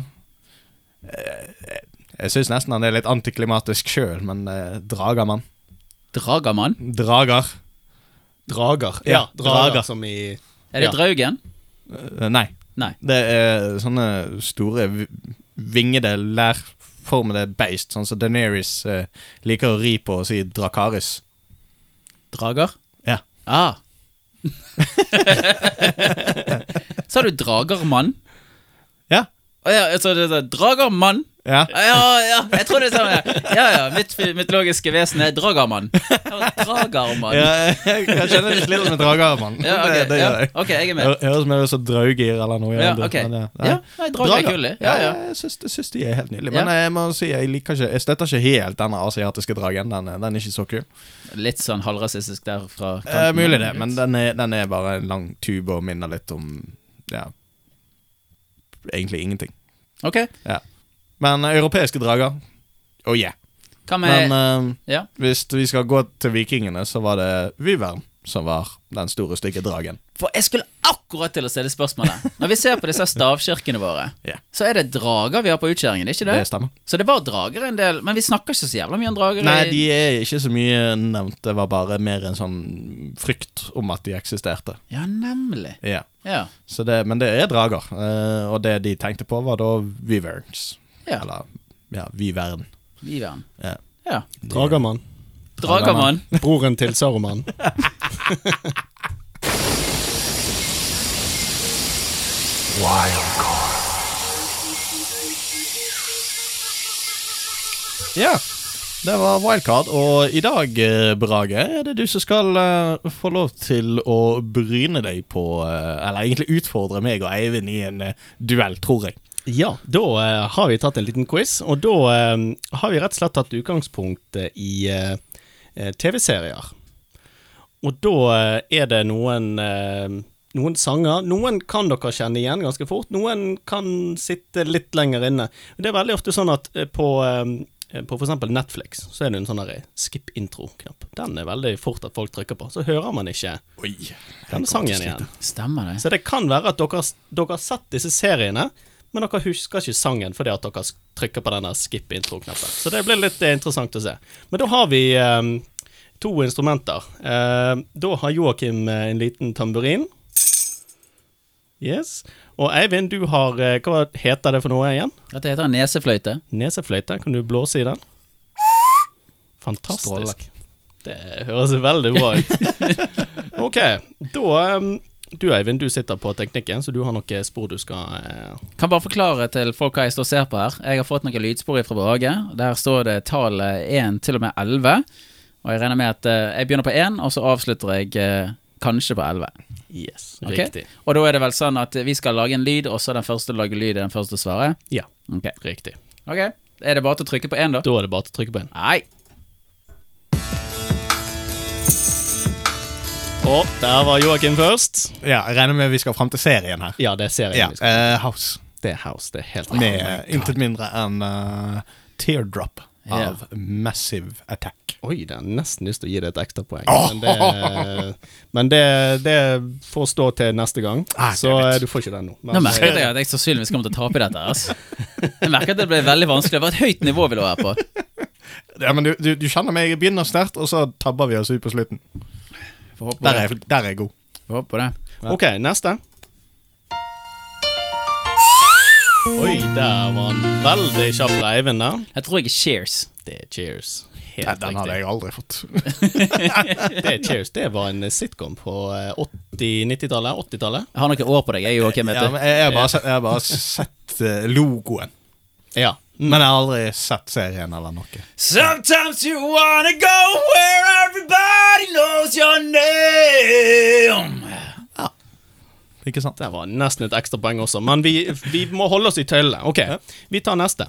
eh, Jeg syns nesten han er litt antiklimatisk sjøl, men eh, dragermann.
Dragermann?
Drager.
Drager.
Ja,
Ja, drager,
drager.
som i
Er det
Ja.
Draugen?
Eh, nei.
Nei.
Det er sånne store v- vingede, lærformede beist, sånn som Daenerys eh, liker å ri på og si Drakaris.
Drager?
Ja.
Ah. Sa du dragermann?
Ja.
Å ja, altså, det, det, dragermann? Ah,
Ja.
Ja, ja, jeg tror det er sånn. Ja, ja, mitt, mitt logiske vesen er dragermann. Ja, Dragermann. Ja,
Ja, jeg, jeg kjenner litt litt med dragermann.
ok,
det, det
ja,
gjør jeg.
ok, jeg er med.
Hø- Høres mer ut som draugir eller noe. i
Ja,
den duren,
ok.
men det- nei.
Ja, nei, drager er kul, det. ja, ja.
jeg syns, jeg syns de er helt nydelige.
Ja.
Men eh, jeg må si jeg liker ikke Jeg støtter ikke helt denne asiatiske dragen. Den, er- den er ikke så kul.
Litt sånn halvrasistisk der fra kanten.
Eh, mulig det, men den er, den er bare en lang tube og minner litt om Ja Egentlig ingenting.
Ok,
Men eh, europeiske drager Oh yeah.
hva med
Men eh,
Ja,
hvis vi skal gå til vikingene, så var det Vyvern som var den store, stygge dragen.
For jeg skulle akkurat til å stille spørsmålet. Når vi ser på disse stavkirkene våre,
Ja.
så er det drager vi har på utskjæringen, ikke det?
Det stemmer.
Så det var drager en del, men vi snakker ikke så jævla mye om drager. i-
Nei, de er ikke så mye nevnt. Det var bare mer en sånn frykt om at de eksisterte.
Ja, nemlig.
Ja.
Ja.
Så det, men det er drager, eh, og det de tenkte på, var da Viverns.
Ja.
Eller ja, Vivern.
Vivern.
Ja.
Ja.
Dragermann.
Dragermann.
Broren til Saruman.
Ja, det var wildcard, og i dag, eh, Brage, er det du som skal eh, få lov til å bryne deg på eh, Eller egentlig utfordre meg og Eivind i en eh, duell, tror jeg.
Ja, da eh, har vi tatt en liten quiz, og da eh, har vi rett og slett tatt utgangspunkt eh, i eh, eh, TV-serier. Og da eh, er det noen eh, noen sanger Noen kan dere kjenne igjen ganske fort, noen kan sitte litt lenger inne. Det er veldig ofte sånn at eh, på eh, på f.eks. Netflix så er det en sånn der skip intro-knapp. Den er veldig fort at folk trykker på. Så hører man ikke
Oi.
denne sangen igjen.
Stemmer det.
Så det kan være at dere, dere har sett disse seriene, men dere husker ikke sangen fordi at dere trykker på denne skip intro-knappen. Så det blir litt eh, interessant å se. Men da har vi eh, to instrumenter. Eh, da har Joakim eh, en liten tamburin. Yes. Og Eivind, du har eh, Hva heter det for noe igjen?
Dette heter en nesefløyte.
Nesefløyte. Kan du blåse i den? Fantastisk.
Strålende.
Det høres veldig bra ut. ok, da em, Du Eivind, du sitter på teknikken, så du har noen spor du skal eh,
Kan bare forklare til folk hva jeg står og ser på her. Jeg har fått noen lydspor fra Brage. Der står det tallet 1 til og med 11. Og jeg regner med at eh, jeg begynner på 1, og så avslutter jeg eh, kanskje på 11.
Yes,
Ok.
riktig.
Og da er det vel sånn at vi skal lage en lyd, og så den første lager lyd, er den første svaret?
Ja,
Ok.
riktig.
ok. Er det bare til å trykke på 1, da?
Da er det bare til å trykke på en.
Nei.
Og der var Joakim først.
Ja, jeg regner med vi skal fram til serien her.
Ja, det er serien.
Ja,
vi skal-
eh, House.
Det er House, det er helt
Med
riktig.
eh, intet mindre enn eh, Teardrop
Ja.
av Massive Attack.
Oi, det er nesten lyst til å gi det et ekstrapoeng, men, det, men det, det får stå til neste gang.
Ah, det er
så
litt.
eh, du får ikke den nå. Men,
Nå
eh,
merker jeg at jeg sannsynligvis kommer til å tape i dette. her, Altså. Jeg merker at det ble veldig vanskelig. Det var et høyt nivå vi lå her på.
Ja, men du, du, du kjenner meg. Jeg begynner sterkt, og så tabber vi oss ut på slutten.
Får håpe på
Der
det.
er, jeg- der er jeg god.
Får håpe på det.
Ok, neste. Oi, der var han veldig kjapp fra Eivind der.
Jeg tror jeg er cheers.
Det er cheers.
Ja,
Helt
den hadde
riktig.
jeg aldri fått.
Det er cheers. Det var en sitcom på eh, 80-, 90-tallet. 80-tallet.
Jeg har noen år på deg, jeg, Joakim.
Ja,
vet
men
du.
jeg jeg har bare sett, jeg har bare sett eh, logoen.
Ja.
Men jeg har aldri sett serien eller noe.
Sometimes you wanna go where everybody knows your name.
Ikke sant?
Det var nesten et ekstrapoeng også, men vi, vi må holde oss i tøylene. Ok, vi tar neste.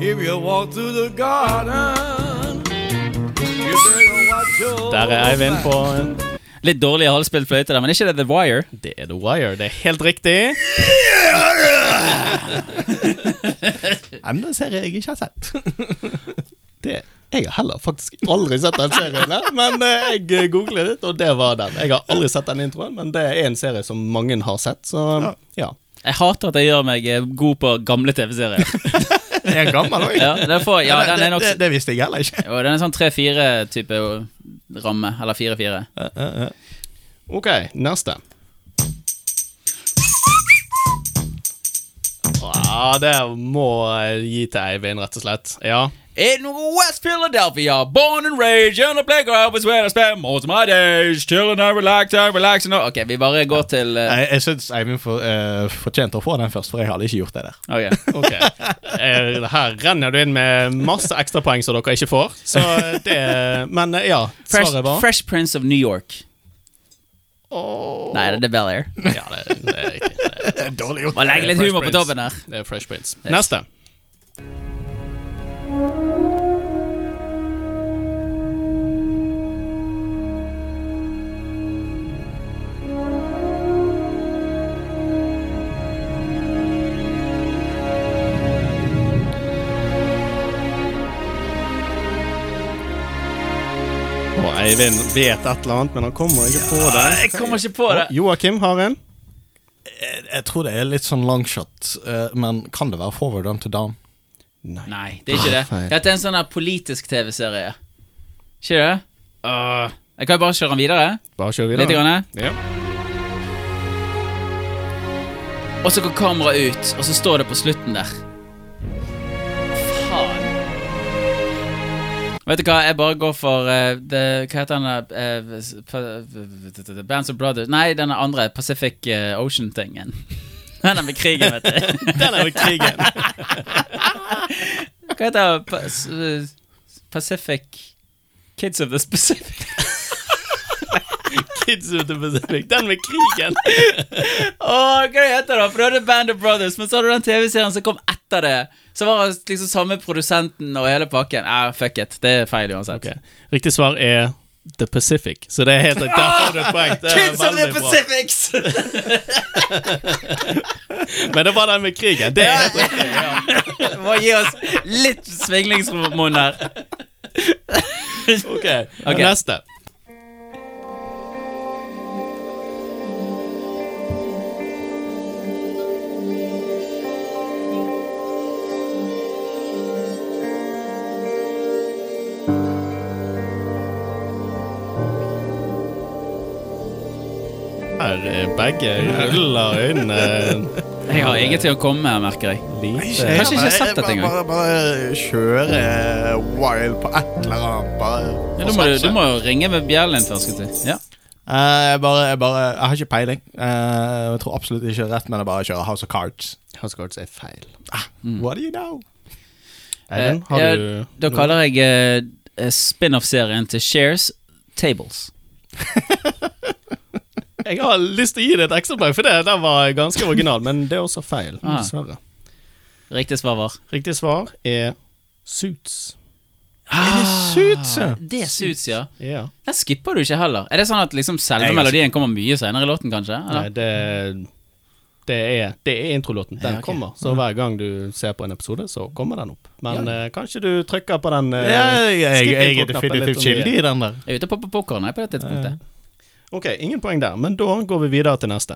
If you walk through the garden, you better watch your
Der er Eivind på
Litt dårlig halvspilt fløyte der, men ikke det The Wire?
Det er The Wire, det er helt riktig.
Enda serie jeg ikke har sett.
Det jeg har heller faktisk aldri sett den serien, her, men eh, jeg googlet litt, og det var den. Jeg har aldri sett den introen, men det er en serie som mange har sett, så ja.
Jeg hater at jeg gjør meg eh, god på gamle TV-serier.
Jeg er gammel òg.
Ja, den, får, ja, den er nok
det, det visste jeg heller ikke.
jo, Den er sånn 3-4-type ramme. Eller 4-4.
Ok, neste. Ja, Ah, det må jeg gi til Eivind, rett og slett. Ja.
In West Philadelphia, born and raised on the playground was where I spent most of my days. Chilling and relaxing and relaxing and- Ok, vi bare går til eh,
Jeg, jeg syns Eivind for, eh, fortjente å få den først, for jeg hadde ikke gjort det der.
Ok.
Ok. Eh, Her renner du inn med masse ekstrapoeng som dere ikke får. Så det Men eh, ja,
Fresh,
svaret var
Fresh Prince of New York. Nei, det er Bel Air.
Ja, det, det er riktig.
Dårlig gjort.
Må legge litt
Fresh
humor på
Prince.
toppen her.
Det er Fresh Prince. Neste. Og Eivind vet et eller annet, men han kommer ikke på det.
Jeg kommer ikke på det.
Joakim har en.
Jeg, jeg tror det er litt sånn longshot, eh, men kan det være forward on to down?
Nei, det er ikke det.
Feil.
Dette er en sånn her politisk TV-serie. Ikke det?
Ah.
Øh, jeg kan jo bare kjøre den videre.
Bare kjør videre.
Litt. Grann.
Ja.
Og så går kameraet ut, og så står det på slutten der. Faen. Vet du hva, jeg bare går for eh, the, Hva heter den der eh, s- pa- the Bands of Brothers Nei, den andre Pacific eh, Ocean-tingen. Den er med krigen, vet du.
Den er jo krigen.
Hva heter pa s- eh, Pacific Kids of the Pacific
Kids of the Pacific. Den med krigen.
Åh, hva det heter det? For du hadde Band of Brothers, men så hadde du den TV-serien som kom etter det. Så var det liksom samme produsenten og hele pakken. Ah, fuck it. Det er feil uansett.
Ok. Riktig svar er The Pacific. Så det er helt Der får du et poeng. Det er
Kids of the
veldig bra.
Pacifics!
Men det var den med krigen. Det er helt riktig.
Må gi oss litt svinglingsmonn her.
Ok,
Ok.
Neste. Her er begge ruller øynene
Jeg har ingenting å komme med, merker jeg.
lite.
Kanskje ikke jeg har sett dette engang.
Bare, bare kjøre
eh,
wild på et eller annet. Bare
Ja, du, må, du må jo ringe med bjellen din først. gutter. Ja.
Eh, jeg, bare, jeg, bare, jeg har ikke peiling. Eh, jeg tror absolutt ikke det er rett, men jeg bare kjører House of Cards. Ah,
Hans Gard
altså
sier feil.
Mm.
What do you know?
Eivind, har
Eh,
du
Da kaller jeg eh, eh, spin-off-serien til Shares Tables.
Jeg har lyst til å gi det et ekstra poeng, for det den var ganske original, men det er også feil.
Ah.
Dessverre.
Riktig svar var
Riktig svar er Suits.
Ah.
Suits, ja.
Det suits, ja.
Ja.
Den skipper du ikke heller. Er det sånn at liksom selve
Jeg-
melodien kommer mye senere i låten, kanskje?
altså- Nei,
Eller?
det, det er, det er introlåten. Den
Ja, ok.
kommer. Så hver gang du ser på en episode, så kommer den opp. Men eh, kanskje du trykker på den eh,
Ja, jeg, jeg,
skip
jeg er
intro-knappen litt sånn
definitivt
om igjen.
skyldig i den der.
Jeg er ute på popkorn jeg, på det tidspunktet.
Ok, ingen poeng der, men da går vi videre til neste.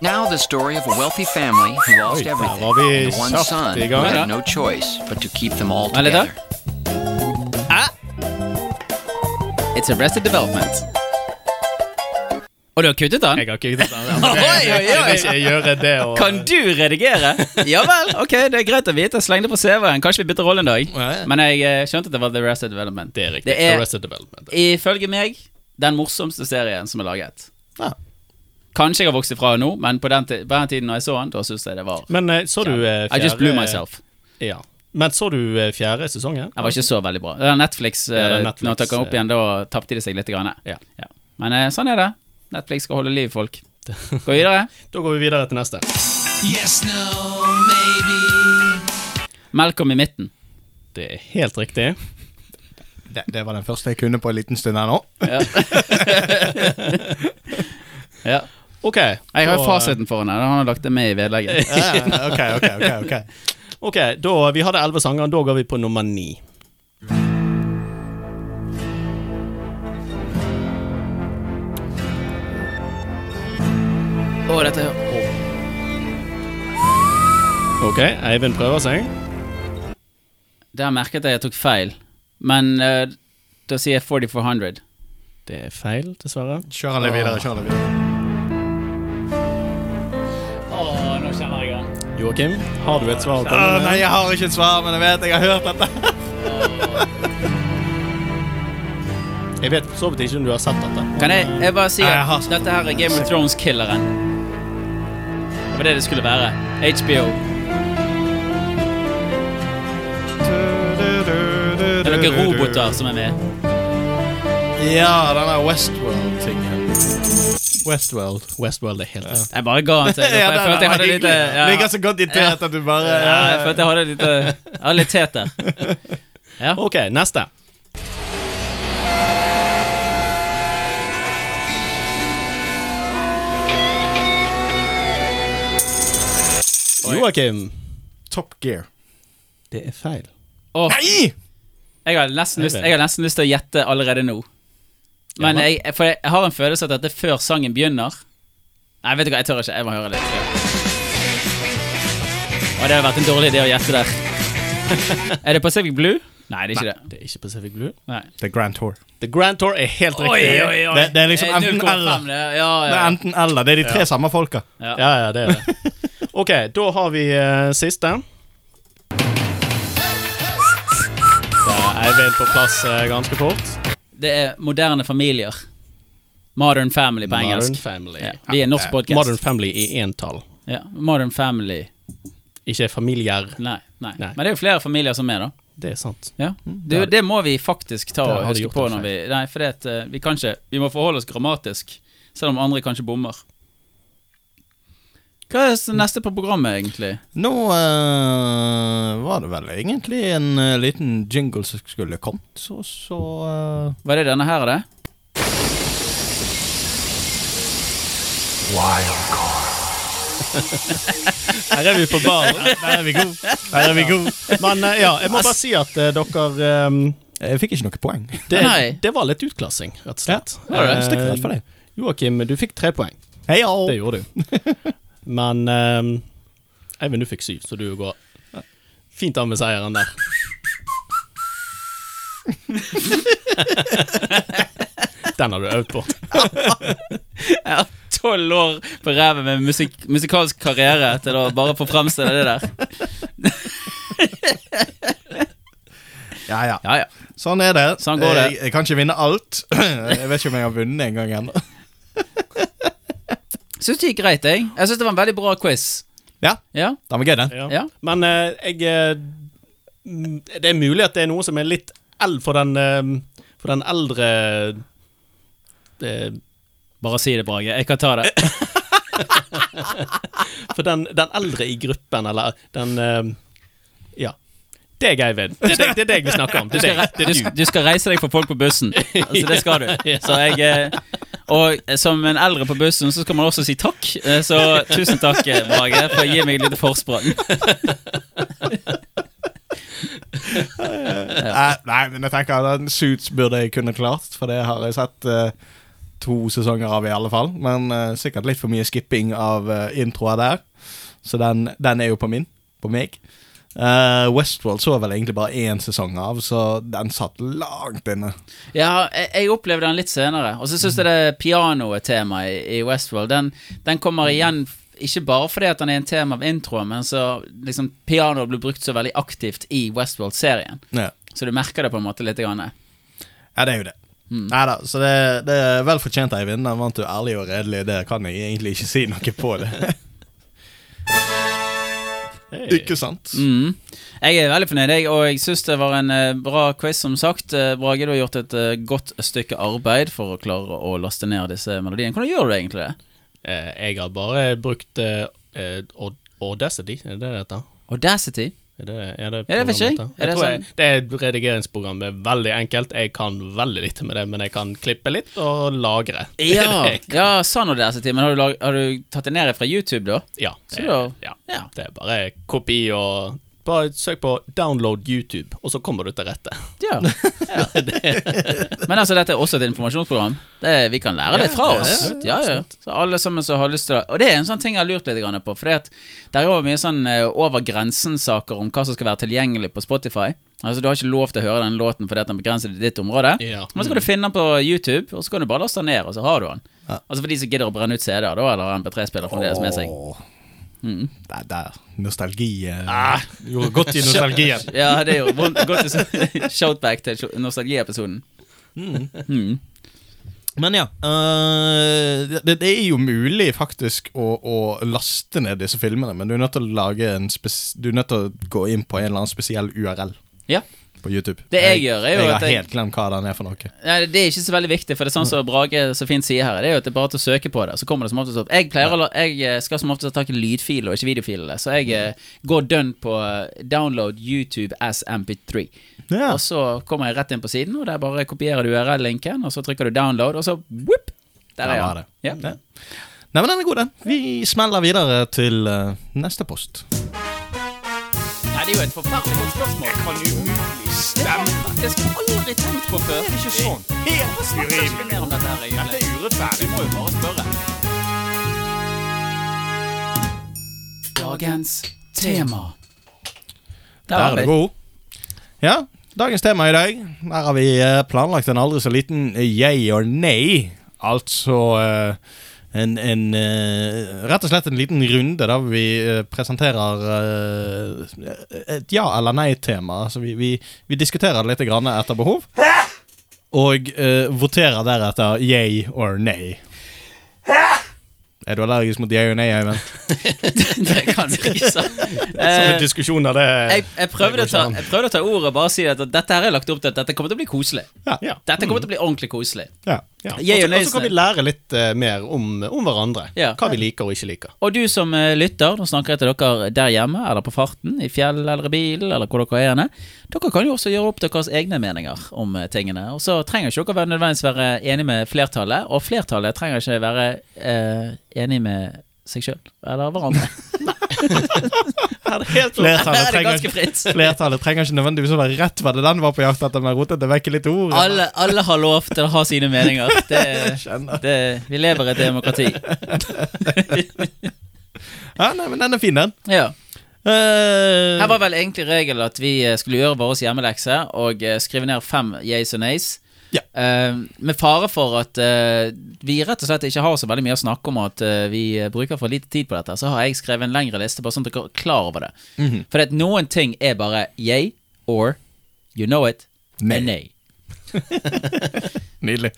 Now the story of a wealthy family who lost
Oi,
everything.
der var vi
and one
kjapt
son
i
who
gang.
had no choice but to keep them all
Vent litt,
together.
da. Ah. It's Arrested Development. Og du har kuttet den?
Jeg har ikke gitt den.
Oi, oi,
Jeg
oi.
vil ikke gjøre det og
Kan du redigere? ja vel, ok, det er greit å vite. Sleng det på CV-en. Kanskje vi bytter rolle en dag.
Ja, ja.
Men jeg eh, skjønte at det var The Rest of Development.
Det er riktig.
Det er-
Arrested Development.
Ifølge meg den morsomste serien som er laget.
Ja.
Kanskje jeg har vokst ifra nå, men på den, ti- på den tiden når jeg så den, da syns jeg det var
Men eh, så du eh,
I just blew myself.
Ja. Men så du eh, fjerde sesongen?
Den var ikke så veldig bra. Det er Netflix,
Ja, det er
eh,
Netflix,
når de tok den
eh.
opp igjen, da tapte de seg litt. Grann.
Ja.
Men eh, sånn er det. Netflix skal holde liv i folk. Gå videre.
Da går vi videre til neste.
Malcolm i midten.
Det er helt riktig.
Det, det var den første jeg kunne på en liten stund her nå.
Ja. ja.
Ok.
Jeg har
da-
jo fasiten foran her. Han har lagt det med i vedlegget.
Eh, ok, ok, ok, ok
Ok, da, Vi hadde elleve sanger, da går vi på nummer ni.
Å, dette er
Ok, Eivind prøver seg.
Der merket jeg at jeg tok feil, men eh, da sier jeg 4400.
Det er feil, dessverre.
Kjør det videre. kjør det videre
Åh, nå kjenner jeg den.
Joakim, har du et svar? å komme
Åh,
med?
Nei, jeg har ikke et svar, men jeg vet jeg har hørt dette.
Jeg vet for så vidt ikke om du har sett dette.
Kan jeg, jeg bare si
Nei, jeg har
at
sånn.
dette her er Game of Thrones-killeren. Det var det det skulle være. HBO. Det er noen roboter som er med.
Ja, den der Westworld-tingen. Westworld.
Westworld er helt rett.
Jeg bare ga den til deg. for Jeg følte jeg hadde litt eh, ja,
Ligger så godt i tet at du bare
ja, Jeg følte jeg hadde litt eh, Jeg hadde litt tet der. Ja.
Ok, neste. Joakim.
Top Gear.
Det er feil.
Åh,
Nei!
jeg har nesten lyst Jeg har nesten lyst til å gjette allerede nå. Men
Ja.
jeg, for jeg har en følelse at dette er før sangen begynner. Nei, vet du hva, jeg tør ikke. Jeg må høre litt. Å, det hadde vært en dårlig idé å gjette der. er det Pacific Blue? Nei, det er ikke det.
Det er ikke Pacific Blue.
Nei.
The Grand Tour.
The Grand Tour er helt riktig.
Det, det er liksom
Eh,
enten
0,5,
eller.
det. Ja,
Det
ja.
er enten eller. Det er de tre samme folka.
Ja, ja, det er det. Ok, da har vi eh, siste. Da er Eivind på plass eh, ganske fort.
Det er moderne familier. Modern family på engelsk.
Family.
Ja, vi er en norsk podcast.
Modern Family i entall.
Ja, modern family.
Ikke familier.
Nei, nei.
Nei.
Men det er jo flere familier som er med, da.
Det er sant.
Ja. Det, det må vi faktisk ta
Der
og
har du
huske
gjort
på
en
når vi Nei, for det, at, eh, vi kan ikke Vi må forholde oss grammatisk, selv om andre kanskje bommer. Hva er s- neste på programmet, egentlig?
Nå eh, var det vel egentlig en eh, liten jingle som skulle kommet, så så eh,
Var det denne her, det?
Her er vi på ballen.
Der er vi gode. Der er vi gode.
Men eh, ja, jeg må bare si at eh, dere eh,
Jeg fikk ikke noe poeng.
det,
Nei.
det var litt utklassing, rett og slett.
var det.
Eh,
Stygt rett for deg.
Joakim, du fikk tre poeng.
Hei,
Det gjorde du. Men eh, Eivind, du fikk syv, så du går fint av med seieren der. Den har du øvd på.
Jeg har tolv år på ræven med musik musikalsk karriere til å bare få fremstille det der.
Ja, ja.
Ja, ja.
Sånn er det.
Sånn går det.
Jeg, jeg kan ikke vinne alt. Jeg vet ikke om jeg har vunnet en gang ennå.
Syns det gikk greit, jeg. Jeg syns det var en veldig bra quiz.
Ja,
Ja.
den var gøy, den.
Ja.
Men eh, jeg eh, mm, Det er mulig at det er noe som er litt eld for den, eh, for den eldre eh,
Bare si det, Brage. Jeg kan ta det.
For den, den eldre i gruppen, eller den eh, Ja. Deg, Eivind. Det er deg, det er deg vi snakker om. Det er deg. Det
du,
er
sk-
du.
du skal reise deg for folk på bussen. Altså, det skal du. Så jeg eh, Og som en eldre på bussen, så skal man også si takk. Eh, Så tusen takk, eh, Brage, for å gi meg et lite forsprang.
Eh, nei, men jeg tenker at den Suits burde jeg kunne klart, for det har jeg sett eh, to sesonger av i alle fall. Men eh, sikkert litt for mye skipping av eh, introer der, så den, den er jo på min. På meg. Eh, Westworld så vel egentlig bare én sesong av, så den satt langt inne.
Ja, jeg, jeg opplevde den litt senere. Og så syns jeg det pianotemaet i, i Westworld, den, den kommer igjen f- ikke bare fordi at den er en tema av introen, men så liksom pianoet blir brukt så veldig aktivt i Westworld-serien.
Ja,
Så du merker det på en måte litt. Grann.
ja det er jo det. Nei da, så det, det er vel fortjent, Eivind. Den vant du ærlig og redelig. Det kan jeg egentlig ikke si noe på. det Ikke sant?
Mm. Jeg er veldig fornøyd, jeg, og jeg syns det var en eh, bra quiz, som sagt. Eh, Brage, du har gjort et eh, godt stykke arbeid for å klare å laste ned disse melodiene. Hvordan gjør du egentlig det?
Eh, jeg har bare brukt eh, eh, Aud- Audacity, er det det heter?
Audacity?
Er det, er det,
Ja, det vet ikke jeg.
programmet heter?
Er det sånn-
Jeg tror jeg, det er et redigeringsprogram. Det er veldig enkelt. Jeg kan veldig lite med det, men jeg kan klippe litt og lagre. Det er
Ja,
det jeg-
ja sann Audacity. Men har du, lag, har du tatt det ned fra YouTube, da?
ja, Eh,
Så da-
ja.
ja.
Det er bare kopi og Bare søk på 'download YouTube', og så kommer du til rette.
Ja. ja. Men altså, dette er også et informasjonsprogram. Det, vi kan lære det fra oss. Ja, ja. Så alle sammen som har lyst til det. Og det er en sånn ting jeg har lurt litt grann på. For det er jo mye sånn eh, over grensen-saker om hva som skal være tilgjengelig på Spotify. Altså Du har ikke lov til å høre den låten fordi at den begrenser det i ditt område.
Ja.
Men så kan du finne den på YouTube, og så kan du bare laste den ned, og så har du den. Altså For de som gidder å brenne ut CD-er, da, eller MP3-spiller fremdeles med seg.
Åh. Der, der. Nostalgi. eh. Du gjorde godt i nostalgien.
Ja, det er jo vondt. Godt å- Shoutback til nostalgiepisoden.
Men ja, øh, det, det er jo mulig faktisk å, å laste ned disse filmene, men du er nødt til å lage en spes Du er nødt til å gå inn på en eller annen spesiell URL
Ja.
på YouTube.
Det jeg gjør er jo
jeg
at
har
jeg-
helt glemt hva den er for noe.
Nei, Det er ikke så veldig viktig, for det er sånn som
Mm.
Brage så fint sier her. Det er jo at det er bare til å søke på det, så kommer det som oftest opp. Jeg, pleier, å la- jeg eh, skal som oftest ha tak i lydfiler og ikke videofilene, så jeg eh, går dønn på eh, download YouTube as MP3.
Ja.
Og så kommer jeg rett inn på siden, og der bare kopierer du URL-linken, og så trykker du download, og så whoop, der
Der
er
var
den.
det.
Ja.
Ja. Nei, men den er god, den. Vi smeller videre til eh, neste post.
Nei, det er jo et forferdelig godt spørsmål. Jeg kan umulig stemme. Det har jeg faktisk aldri tenkt på før. Det er ikke sånn. Helt urimelig. Dette her, egentlig?
Det er urettferdig.
Du må jo bare spørre. Dagens tema.
Der er du god. Ja, dagens tema i dag. Der har vi eh, planlagt en aldri så liten eh, jeg og nei. Altså eh, en, en eh, Rett og slett en liten runde der vi eh, presenterer eh, et ja- eller nei-tema. Altså vi, vi, vi diskuterer det litt grann etter behov. Og eh, voterer deretter yay or nay. Er du allergisk mot yay og nei, Eivind?
det kan du ikke si.
Sånne
Eh,
diskusjoner, det
Jeg, jeg, prøvde
det går
å ta,
ikke an.
jeg prøvde å ta ordet og bare si at dette her er lagt opp til at dette kommer til å bli koselig.
Ja.
Dette kommer til å bli ordentlig koselig.
Ja.
Ja. Og
Jeg er jo
så- og så
nøysen.
kan vi lære litt eh, mer om, om hverandre.
Ja.
Hva vi liker og ikke liker.
Og du som eh, lytter, nå snakker jeg til dere der hjemme, eller på farten, i fjell eller i bilen, eller hvor dere er henne. Dere kan jo også gjøre opp deres egne meninger om eh, tingene. Og så trenger ikke dere være nødvendigvis være enig med flertallet, og flertallet trenger ikke være eh, enig med seg sjøl eller hverandre. Her er det helt
Flertallet
Her er det
trenger-
ganske fritt.
Flertallet trenger ikke nødvendigvis å være rett hva det den var på jakt etter, men rotete vekk i litt ord.
Alle, alle har lov til å ha sine meninger. Det, det, vi lever i et demokrati.
Ja, nei, men den er fin, den.
Ja
Eh,
Her var vel egentlig regelen at vi eh, skulle gjøre vår hjemmelekse og eh, skrive ned fem yes og nays.
Ja.
Eh, med fare for at eh, vi rett og slett ikke har så veldig mye å snakke om, og at eh, vi eh, bruker for lite tid på dette, så har jeg skrevet en lengre liste, bare sånn at dere er klar over det.
Mhm,
For at noen ting er bare yay or you know it
Nei.
and nay.
Nydelig.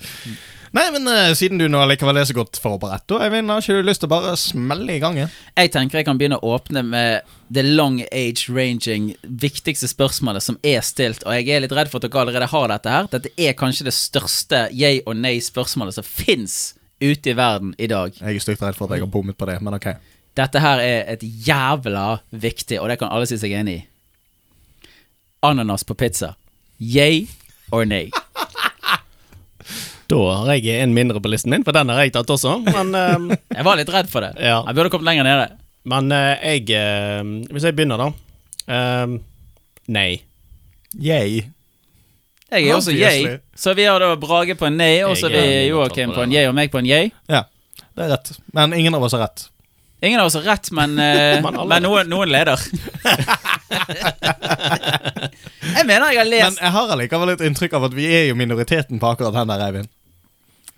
Nei, men eh, siden du nå likevel er så godt forberedt, da, Eivind, har ikke du lyst til å bare smelle i gang? ja?
Jeg tenker jeg kan begynne å åpne med the long age ranging viktigste spørsmålet som er stilt, og jeg er litt redd for at dere allerede har dette her. Dette er kanskje det største jeg og nei-spørsmålet som fins ute i verden i dag.
Jeg er stygt redd for at jeg har bommet på det, men ok.
Dette her er et jævla viktig, og det kan alle si seg enig i. Ananas på pizza. Yay or nay?
Da har jeg en mindre på listen min, for den har jeg tatt også. Men, eh,
Jeg var litt redd for det.
Ja.
Jeg burde kommet lenger nede.
men eh, jeg eh, Hvis jeg begynner, da. Eh, nei.
Yay.
Jeg er også yay,
Obviously.
så vi har da Brage på en nay, og så
Jeg
vi
er litt
Joakim
opptatt på
på en
det.
yay og meg på en yay.
Ja, det er rett. Men ingen av oss har rett.
Ingen av oss har rett, men, eh,
Men alle-
men noen, noen leder. jeg mener jeg har
Men
lest
jeg har allikevel et inntrykk av at vi er jo minoriteten på akkurat den der, Eivind.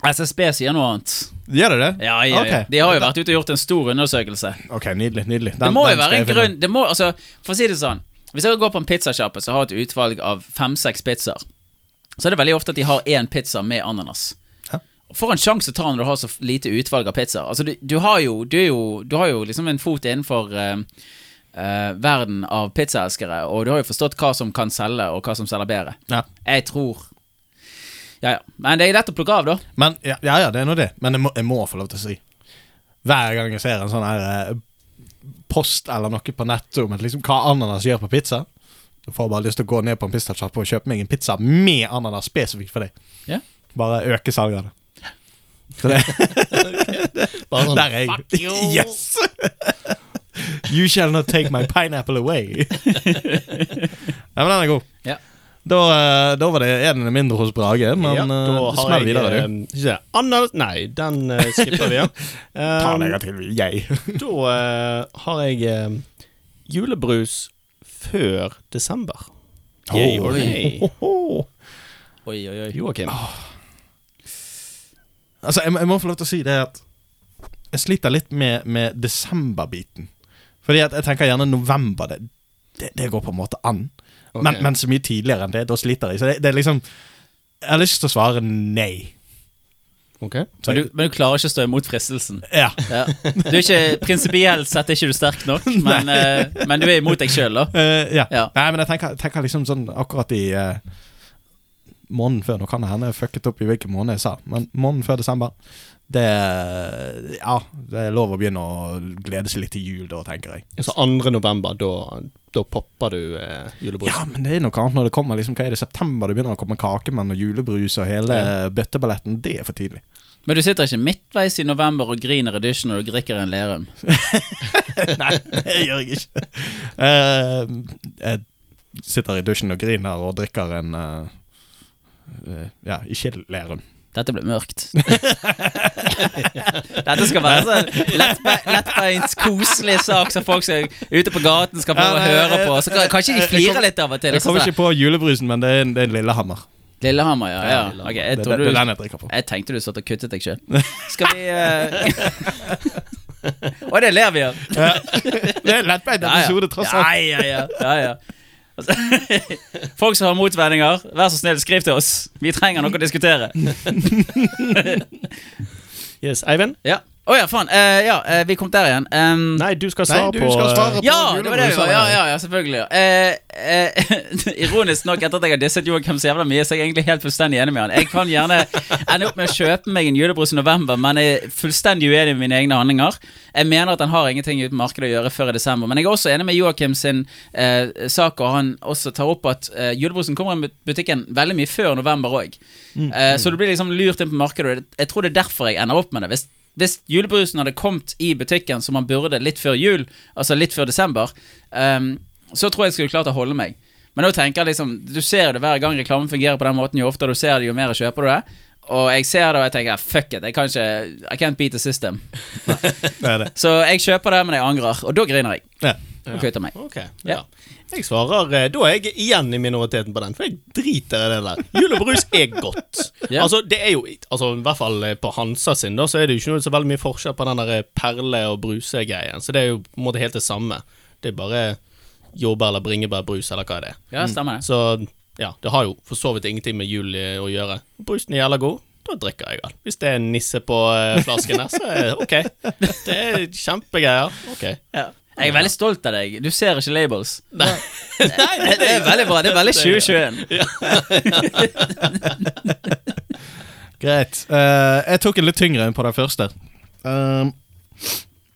SSB sier noe annet.
Gjør det det?
Ja, ja, ja.
Ok.
De har jo vært ute og gjort en stor undersøkelse.
Ok, nydelig. nydelig
Det
Den-
må jo
den skal
være en
jeg finne.
grunn det må, altså, For å si det sånn Hvis jeg går på en pizzasjappe som har jeg et utvalg av fem-seks pizzaer så er det veldig ofte at de har én pizza med ananas.
Ja.
For en sjanse tar han når du har så lite utvalg av pizza. Altså, du, du, har jo, du, er jo, du har jo liksom en fot innenfor eh, eh, verden av pizzaelskere, og du har jo forstått hva som kan selge, og hva som selger bedre.
Ja.
Jeg tror Ja, ja. Men det er lett å plukke av, da.
Men, ja, ja, ja, det er nå det. Men jeg må, jeg må få lov til å si Hver gang jeg ser en sånn her eh, post eller noe på nettet om at liksom, hva ananas gjør på pizza, da får jeg bare lyst til å gå ned på en pizzasjappe og kjøpe meg en pizza med ananas spesifikt for deg.
Ja.
Bare øke salget av det. Så det
Bare sånn,
Der er jeg. Yes! You shall not take my pineapple away. Nei, men den er god.
Ja.
Da, eh, da var det en mindre hos Brage, men
ja,
ja,
da har
smell
jeg,
videre,
eh,
du.
ikke det. Anna, nei, den eh, skipper vi, ja.
Um,
Ta
Eh,
deg til, jeg.
da eh, har jeg eh, julebrus før desember. Yay or nay?
Oi, oi, oi.
Joakim.
Altså, jeg, må- jeg må få lov til å si det at jeg sliter litt med, med desemberbiten. Fordi at jeg tenker gjerne november. Det, det, det går på en måte an.
Ok.
Men, men så mye tidligere enn det. Da sliter jeg. Så det, det er liksom Jeg har lyst til å svare nei.
Ok.
Så
Men du,
jeg,
men du klarer ikke å stå imot fristelsen.
ja.
Ja. Du er ikke prinsipielt sett er ikke du sterk nok, men, eh, men du er imot deg sjøl, da.
Eh, ja.
Ja.
Nei, men jeg tenker, tenker liksom sånn akkurat i eh, måneden før. Nå kan det hende jeg fucket opp i hvilken måned jeg sa, men måneden før desember det, ja, det er lov å begynne å glede seg litt til jul da, tenker jeg.
Så 2. november, da, da popper du eh, julebrus.
Ja, men det er noe annet når det kommer liksom, hva er det, september det begynner å komme kakemenn og julebrus og hele bøtteballetten. Det er for tidlig.
Men du sitter ikke midtveis i november og griner i dusjen når du drikker en Lerum.
Nei, det gjør jeg ikke. Eh, jeg sitter i dusjen og griner og drikker en eh, eh, Ja, ikke Lerum.
Dette ble mørkt. Dette skal være sånn lettbe- lettbeint, koselig sak som folk som er ute på gaten skal få
Ja, nei,
høre på. Så
jeg- jeg-
kanskje de
jeg- jeg
flirer
kom-
litt av og til.
Jeg
og så
kommer
sånn,
ikke på julebrusen, men det er en, det er en Lillehammer.
Lillehammer, ja. ja.
Ja,
Det,
Ok, jeg,
det,
tror
det er
du,
den jeg drikker på.
jeg tenkte du satt og kuttet deg sjøl. Skal vi uh... Og det ler vi av.
Det er en lettbeint
Ja, ja.
episode, tross alt.
Ja, ja, ja. ja, ja. Altså, Folk som har motvendinger, vær så snill, skriv til oss. Vi trenger noe å diskutere.
Yes, Eivind?
Ja. Å ja, faen. Eh, ja, eh, vi kom der igjen. Em,
Nei, du skal svare
Nei, du
på
skal svare på
ja, det var det vi var.
julebrusen.
Ja, ja, ja selvfølgelig. ja. Eh, eh, ironisk nok, etter at jeg har disset Joakim så jævla mye, så er jeg egentlig helt fullstendig enig med han. Jeg kan gjerne ende opp med å kjøpe meg en julebrus i november, men jeg er fullstendig uenig med mine egne handlinger. Jeg mener at han har ingenting uten markedet å gjøre før i desember, men jeg er også enig med Joakim sin eh, sak, og han også tar opp at eh, julebrusen kommer i butikken veldig mye før november òg. Eh, så du blir liksom lurt inn på markedet, og jeg tror det er derfor jeg ender opp med det. Hvis hvis julebrusen hadde kommet i butikken som han burde litt før jul, altså litt før desember, ehm, så tror jeg jeg skulle klart å holde meg. Men nå tenker jeg liksom Du ser det hver gang reklamen fungerer på den måten. Jo oftere du ser det, jo mer kjøper du det. Og jeg ser det, og jeg tenker fuck it, jeg kan ikke I can't beat the system.
Det er det.
Så jeg kjøper det, men jeg angrer. Og da griner jeg.
Ja.
Og kutter meg.
Ok, ja.
Ja.
Jeg svarer eh, Da er jeg igjen i minoriteten på den, for jeg driter i det der. Julebrus er godt.
Ja.
Altså, det er jo altså, I hvert fall eh, på Hansa sin, da, så er det jo ikke noe så veldig mye forskjell på den der eh, perle- og brusegreien. Så det er jo på en måte helt det samme. Det er bare jordbær eller bringebærbrus eller hva det er.
Ja, stemmer det.
Så ja, det har jo for så vidt ingenting med jul eh, å gjøre. Brusen er jævla god. Da drikker jeg den. Hvis det er en nisse på eh, flasken der, så er det ok. Det er kjempegreier. Ok.
Ja. Jeg er veldig stolt av deg. Du ser ikke labels.
Nei.
Det det er veldig bra. Det er veldig 2021.
Greit. Eh, jeg tok en litt tyngre enn på den første. Ehm,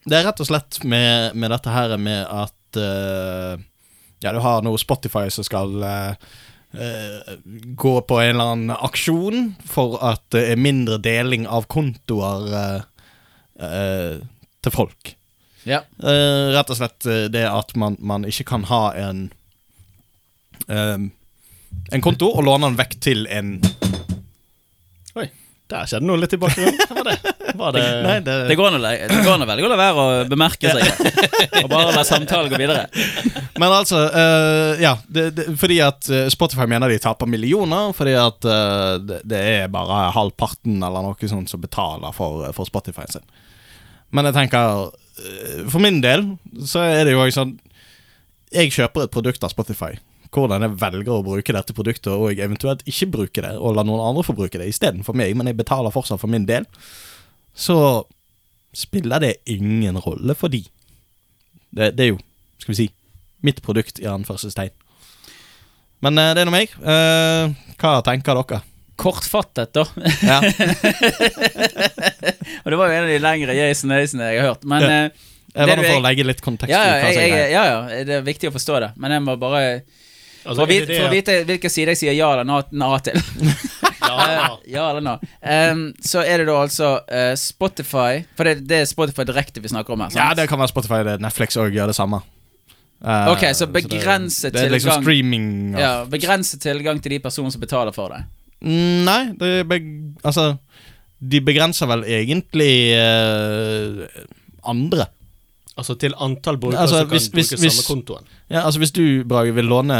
det er rett og slett med, med dette her med at eh, Ja, du har noe Spotify som skal eh, eh, gå på en eller annen aksjon for at det er mindre deling av kontoer eh, eh, til folk.
Ja.
Eh, rett og slett eh, det at man, man ikke kan ha en eh, En konto og låne den vekk til en
Oi, der skjedde noe litt i bakgrunnen. Hva var det? Var det
Det går nå le- det går nå veldig godt å være å bemerke seg og bare la samtalen gå videre.
Men altså, eh, ja det, det, Fordi at eh, Spotify mener de taper millioner Fordi at eh, det, det er bare halvparten eller noe sånt som betaler for, eh, for Spotify sin Men jeg tenker eh, For min del så er det jo også sånn Jeg kjøper et produkt av Spotify hvordan jeg velger å bruke dette produktet, og eventuelt ikke bruke det, og la noen andre få bruke det istedenfor meg, men jeg betaler fortsatt for min del, så spiller det ingen rolle for de. Det, det er jo, skal vi si, mitt produkt i anførselstegn. Men eh, det er nå meg. Eh, hva tenker dere?
Kortfattet, da.
Ja.
Og det var jo en av de lengre Jason Øysene jeg har hørt. Men eh,
Jeg
Det
var
du
nå for
jeg-
å legge litt kontekst
ja, ja,
i hva
jeg,
som
jeg,
er.
ja, ja, det er viktig å forstå det. Men jeg må bare For å
Altså, er det
vite,
det
for å
at-
vite hvilken side jeg sier ja eller na- na til. Eh,
Ja,
ja eller no. Em, så er det da altså eh, Spotify For det, det er Spotify direkte vi snakker om her. sant?
Ja, det kan være Spotify. Det. Netflix òg gjør det samme. Eh,
Ok, så
det-
begrenset
Det er liksom
tilgang.
streaming og
ja, Begrenset tilgang til de personene som betaler for det.
Mm, Nei, det er beg altså De begrenser vel egentlig eh, andre.
altså til antall brukere
Altså,
som kan
hvis- hvis-
bruke
hvis-
samme kontoen.
Ja, altså Hvis du Brage, vil låne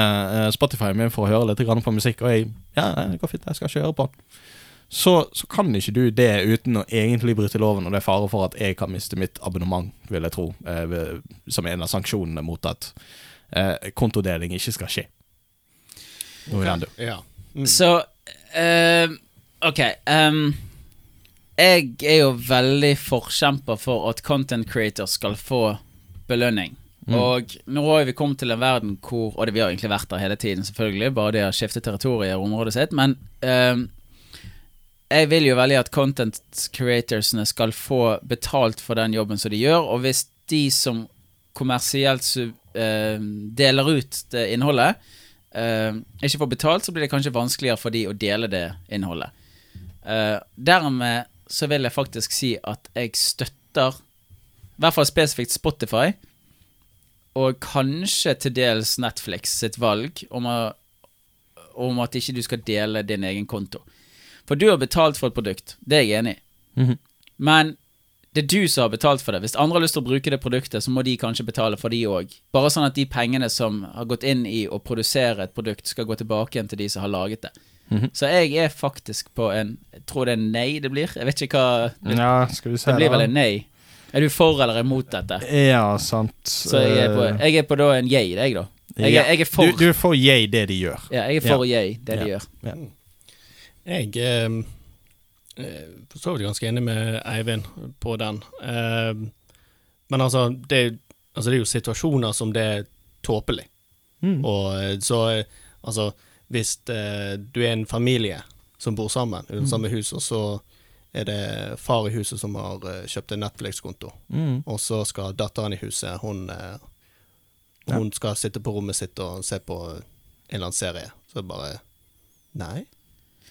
eh, Spotify min for å høre litt grann på musikk, og jeg Ja, nei, det går fint, jeg skal ikke høre på den, så, så kan ikke du det uten å egentlig bryte loven, og det er fare for at jeg kan miste mitt abonnement, vil jeg tro, eh, ved- som en av sanksjonene mot at eh, kontodeling ikke skal skje. Noe i den du.
Ja.
Så ehm, Ok. ehm, jeg er jo veldig forkjemper for at content creators skal få belønning. Og nå har jo vi kommet til en verden hvor Og det vi har egentlig vært der hele tiden, selvfølgelig, bare de har skiftet territorier og området sitt, men ehm, jeg vil jo veldig at content creatorsene skal få betalt for den jobben som de gjør, og hvis de som kommersielt sub- ehm, deler ut det innholdet, eh, ikke får betalt, så blir det kanskje vanskeligere for de å dele det innholdet. Eh, dermed så vil jeg faktisk si at jeg støtter, i hvert fall spesifikt Spotify, og kanskje til dels Netflix sitt valg om, å, om at ikke du skal dele din egen konto. For du har betalt for et produkt, det er jeg enig i. Men det er du som har betalt for det. Hvis andre har lyst til å bruke det produktet, så må de kanskje betale for de òg. Bare sånn at de pengene som har gått inn i å produsere et produkt, skal gå tilbake igjen til de som har laget det. Så jeg er faktisk på en Jeg tror det er nei det blir. Jeg vet ikke hva
Ja, skal vi se
Det blir vel en nei. Er du for eller imot dette?
Ja, sant. Eh,
Så jeg er på, jeg er på da en yay, jeg, da. Jeg er, jeg er for,
Du, du får jeg det de gjør.
ja, jeg er for yay, det de
Ja.
gjør.
Jeg eh, eh, for så vidt ganske enig med Eivind på den. Eh, men altså det, altså, det er jo situasjoner som det er tåpelig. Og eh, så eh, altså Hvis eh, du er en familie som bor sammen i det samme hus, og så er det far i huset som har eh, kjøpt en Netflix-konto,
Mm.
og så skal datteren i huset, hun eh, Hun skal sitte på rommet sitt og se på en eller annen serie. Så bare Nei,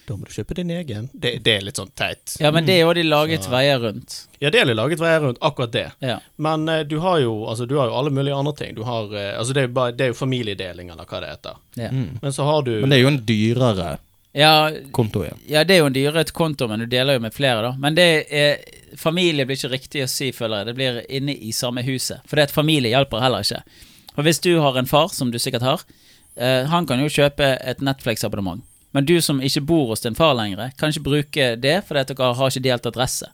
da må du kjøpe din egen. Det, det er litt sånn teit.
Ja, men det er jo de laget veier rundt.
Ja, det er litt laget veier rundt akkurat det.
Ja.
Men eh, du, har jo, altså, du har jo alle mulige andre ting. Du har, eh, altså, det, er jo bare, det er jo familiedeling, eller hva det heter.
Ja.
Mm.
Men så har du
Men det er jo en dyrere
ja,
konto igjen.
Ja, det er jo en dyrere konto, men du deler jo med flere, da. Men det er, familie blir ikke riktig å si, føler jeg. Det blir inne i samme huset. For det at familie hjelper heller ikke. Og hvis du har en far, som du sikkert har, eh, han kan jo kjøpe et Netflix-abonnement. Men du som ikke bor hos din far lenger, kan ikke bruke det fordi at dere har ikke delt adresse.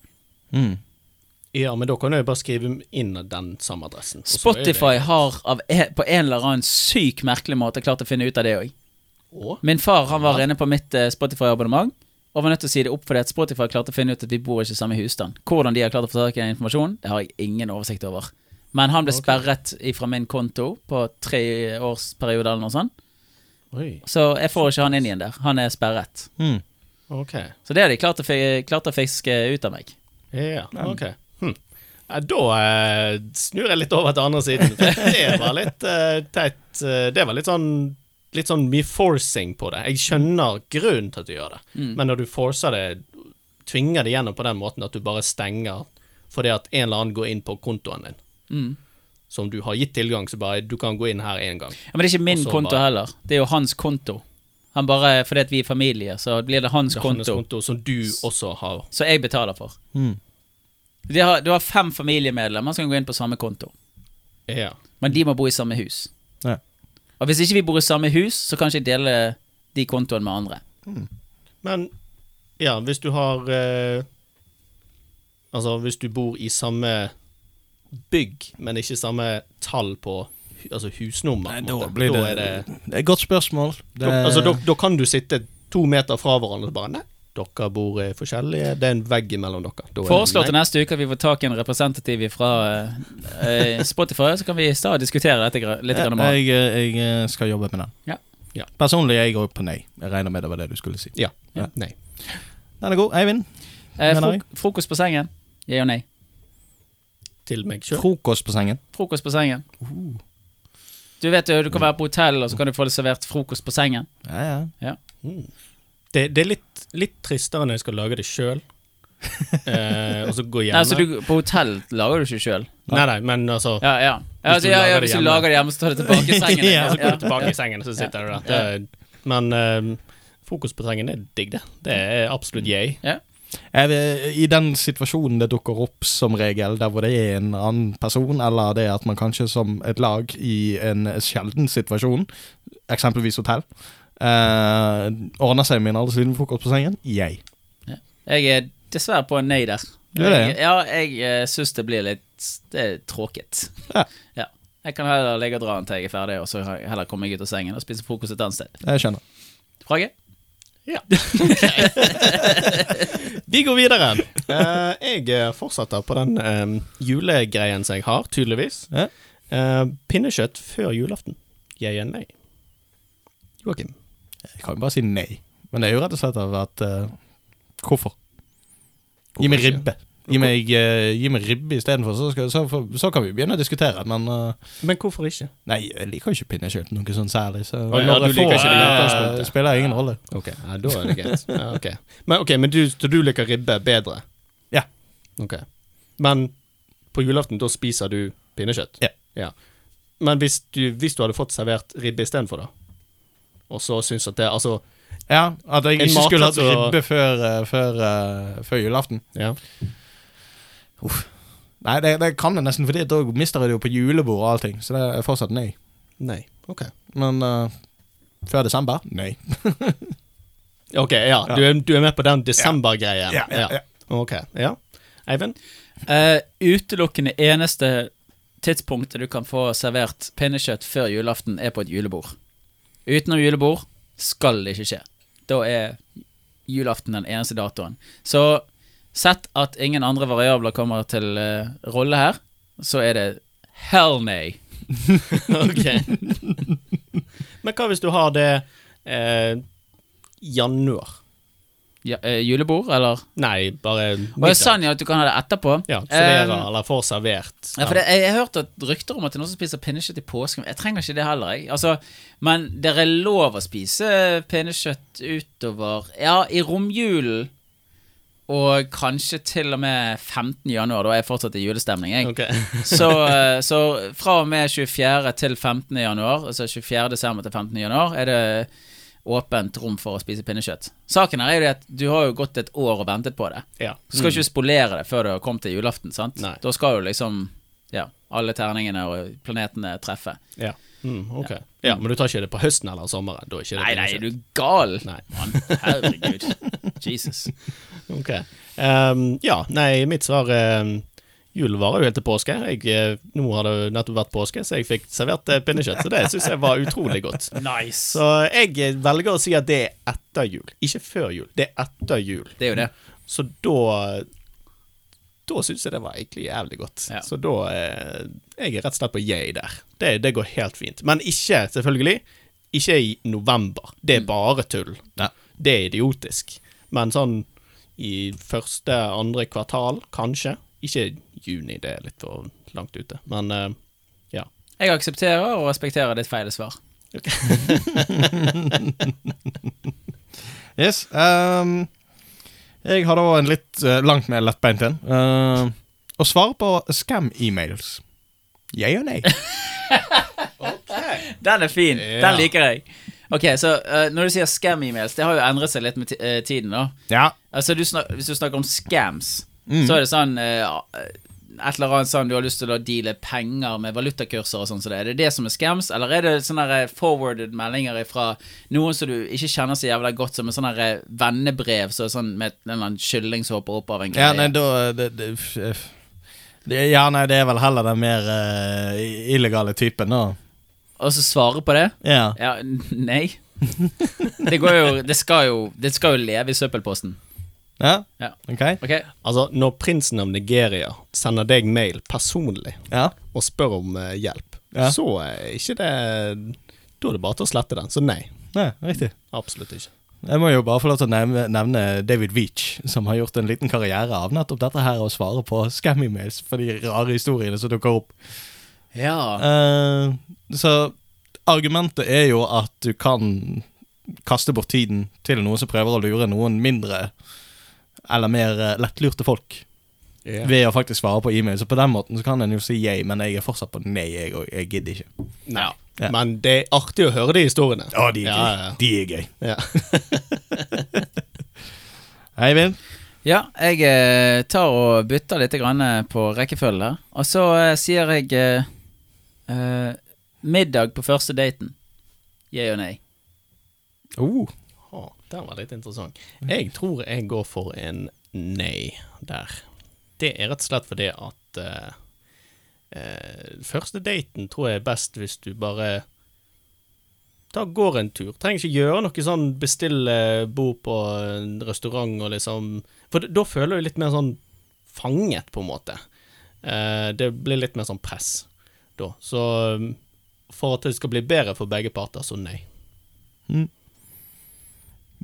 Ja, men da kan du jo bare skrive inn den samme adressen. og så er det-
Spotify har av, e- på en eller annen syk merkelig måte klart å finne ut av det òg.
Å?
Min far han var inne på mitt eh, Spotify-abonnement og var nødt til å si det opp fordi at Spotify klarte å finne ut at vi bor ikke i samme husstand. Hvordan de har klart å få tak i den informasjonen, det har jeg ingen oversikt over. Men han ble sperret fra min konto på tre års periode eller noe sånt.
Oi,
Så jeg får ikke han inn igjen der. Han er sperret.
ok.
Så det har de klart å, fi- klart å fiske ut av meg.
Ja, ok. Hm. Ja, Da eh, snur jeg litt over til andre siden. for Det var litt eh, teit eh, Det var litt sånn Litt sånn mye forcing på det. Jeg skjønner grunnen til at du gjør det, men når du forcer det, tvinger det gjennom på den måten at du bare stenger fordi at en eller annen går inn på kontoen din, som du har gitt tilgang, så bare Du kan gå inn her én gang.
Ja, men det er ikke min
Og så
konto
bare-
heller. Det er jo hans konto. Han bare, Fordi at vi er familie, så blir det hans
Det er hans
konto.
konto som du også har.
som jeg betaler for.
Mm.
De har, du har fem familiemedlemmer som kan gå inn på samme konto,
Ja.
men de må bo i samme hus.
Ja.
Og hvis ikke vi bor i samme hus, så kan ikke jeg dele de kontoene med andre.
Men ja, hvis du har eh, Altså, hvis du bor i samme bygg, men ikke samme tall på altså husnummer. på en
Da
måte.
blir det,
er det
det er et godt spørsmål. Det,
Da, altså, da, da kan du sitte to meter fra hverandre og bare Nei, dere bor eh, forskjellige. Det er en vegg imellom dere. Da er det
Foreslår til
nei.
neste uke at vi får tak i en representativ fra eh, Spotify, så kan vi i stedet diskutere dette gra- litt grann mer.
jeg, jeg, jeg eh, skal jobbe med den.
Ja.
Ja.
Personlig er jeg òg på nei. Jeg regner med det var det du skulle si.
Ja.
Ja.
Nei.
Den er god. Eivind?
Eh,
mener jeg.
frok frokost på sengen. Ja og nei.
Til meg sjøl.
Frokost på sengen.
Frokost på sengen.
Uh.
Du vet jo, du kan være på hotell, og så kan du få det servert frokost på sengen.
Ja, ja.
Mm. Det, det er litt, litt tristere når jeg skal lage det sjøl. eh, og så gå hjemme.
Nei, så du, På hotell lager du ikke sjøl.
nei, nei, men altså
Ja, ja. Ja,
Hvis
altså,
du
ja,
lager
ja,
det
hvis du
hjemme.
lager det hjemme, så tar du tilbake i sengen.
Ja,
Så går du
ja.
tilbake i sengen, og så sitter du der. Det, er- men eh, fokus på sengen er digg, det. Det er absolutt yay.
Jeg vil- eh, I den situasjonen det dukker opp som regel, der hvor det er en annen person, eller det at man kanskje som et lag i en sjelden situasjon, eksempelvis hotell, eh, ordner seg med en aldersliden-frokost på sengen, jeg.
Jeg er dessverre på en nei der.
Du er det,
Jeg, ja, jeg uh, syns det blir litt Det er tråkigt.
Ja.
Jeg kan heller ligge og dra til jeg er ferdig, og så heller komme meg ut av sengen og spise frokost et annet sted.
Jeg skjønner.
Frage?
Vi går videre. Eh, jeg eh, fortsetter på den eh, julegreien som jeg har, tydeligvis.
Ja.
Eh, pinnekjøtt før julaften. Jeg er nei. Joakim.
Jeg kan jo bare si nei. Men det er jo rett og slett av at eh, Hvorfor? Gi meg
ikke?
ribbe. Gi meg, uh, gi meg ribbe istedenfor, så, skal- så, får- så kan vi begynne å diskutere. Men eh,
Men hvorfor ikke?
nei, jeg liker jo ikke pinnekjøtt noe sånn særlig. Så
Å ja,
når jeg
du liker
får,
ikke det i utgangspunktet.
eh, spiller ingen rolle.
Ok, ja, Da er det greit. Ja, ok. Men, ok, men du, så du liker ribbe bedre?
Ja.
Ok. Men på julaften, da spiser du pinnekjøtt?
Ja.
Men hvis du, hvis du hadde fått servert ribbe istedenfor, da? Og så syns at det Altså,
Ja, at jeg
En
ikke skulle hatt
matrett og-
ribbe før, eh, før, eh, før julaften.
ja.
Nei, det, det kan jeg nesten, for da mister jeg det jo på julebord og allting. Så det er fortsatt nei.
Nei. Ok.
Men eh, før desember? Nei.
Ok, ja. Du er, du er med på den desember-greien?
Ja, ja, ja.
Ok. Ja. Eivind?
Eh, utelukkende eneste tidspunktet du kan få servert pinnekjøtt før julaften, er på et julebord. Utenom julebord skal det ikke skje. Da er julaften den eneste datoen. Så sett at ingen andre variabler kommer til eh, rolle her, så er det hell nei.
Ok. Men hva hvis du har det eh, januar?
Ja, eh, julebord, eller?
Nei, bare
Og jeg
middag.
sa jo at du kan ha det etterpå.
Ja, serverer
Eh,
eller får servert.
Ja, for det, jeg, jeg har hørt at rykter om at det er noen som spiser pinnekjøtt i påsken. Jeg trenger ikke det heller, jeg. Altså, men det er lov å spise pinnekjøtt utover Ja, i romjulen. Og kanskje til og med 15. januar, da er jeg fortsatt i julestemning. Jeg.
Ok.
Så, eh, så fra og med 24. til 15. januar, altså 24. desember til 15. januar, er det åpent rom for å spise pinnekjøtt. Saken her er jo det at du har jo gått et år og ventet på det.
Ja. mm,
Du skal ikke spolere det før det har kommet til julaften, sant?
Nei.
Da skal jo liksom ja, alle terningene og planetene treffe.
Ja. Mm, ok. Ja, men du tar ikke det på høsten eller sommeren? Da er ikke det
Nei, nei,
pinnekjøtt.
er du gal?
Nei.
Mann, herregud. Jesus.
Ok. Ehm, ja, nei, mitt svar um, Julen varer jo helt til påske. Jeg, eh, nå har det jo nettopp vært påske, så jeg fikk servert eh, pinnekjøtt. Så det syns jeg var utrolig godt.
Nice.
Så jeg eh, velger å si at det er etter jul. Ikke før jul, det er etter jul.
Det er jo det.
Så da Da syns jeg det var egentlig jævlig godt.
Ja.
Så da eh, Jeg er rett og slett på yay der. Det, det går helt fint. Men ikke, selvfølgelig, ikke i november. Det er bare tull.
Ja.
Det er idiotisk. Men sånn i første, andre kvartal, kanskje. Ikke juni, det er litt for langt ute. Men eh, ja.
Jeg aksepterer og respekterer ditt feile svar.
Yes. ehm, jeg har da en litt eh, langt mer lettbeint en. Uh, å svare på scam-emails. Jeg og nei.
Den er fin.
Ja.
Den liker jeg. Ok, så eh, Når du sier scam-emails, det har jo endret seg litt med ti- eh, tiden. da
Ja.
Altså du snak, Hvis du snakker om scams,
Mm.
så er det sånn eh, ja, Et eller annet sånn du har lyst til å deale penger med valutakurser og sånn. Så det. Er det det som er scams, eller er det sånne der forwarded meldinger fra noen som du ikke kjenner så jævla godt, som en sånn der vennebrev så sånn med en eller annen kylling som hopper opp av en
ja,
greie?
nei, da det, det, f- f- det, Ja, nei, det er vel heller den mer eh, illegale typen, da.
Og så svare på det?
Ja.
Ja, n- nei. Det går jo Det skal jo, det skal jo leve i søppelposten.
ja.
Ja.
Ok.
Ok?
Altså, når prinsen av Nigeria sender deg mail personlig
Ja.
og spør om eh, hjelp,
Ja.
så er ikke det Da er det bare til å slette den. Så nei.
ja. Riktig.
Absolutt ikke.
Jeg må jo bare få lov til å nevne, nevne David Veach, som har gjort en liten karriere av nettopp dette her, å svare på scam-emails for de rare historiene som dukker opp.
Ja.
Eh, så argumentet er jo at du kan kaste bort tiden til noen som prøver å lure noen mindre eller mer eh, lettlurte folk ved å faktisk svare på e-mail. Så på den måten så kan en jo si yay, men jeg er fortsatt på nei, jeg, og jeg gidder ikke.
Nei.
Ja.
Men det er artig å høre de historiene.
Ja, de er
ja,
gøy.
ja,
De er gøy.
ja.
Eivind?
ja jeg eh, tar og bytter litt grann eh, på rekkefølge der. Og så eh, sier jeg eh, eh, middag på første daten. Yeah og nei.
Oh.
Å, den var litt interessant. Jeg tror jeg går for en nei der. Det er rett og slett fordi at eh, eh, Første daten tror jeg er best hvis du bare da går en tur. Trenger ikke gjøre noe sånn bestille bord på en restaurant og liksom For da føler du litt mer sånn fanget, på en måte. Eh, det blir litt mer sånn press da. Så um, for at det skal bli bedre for begge parter, så nei.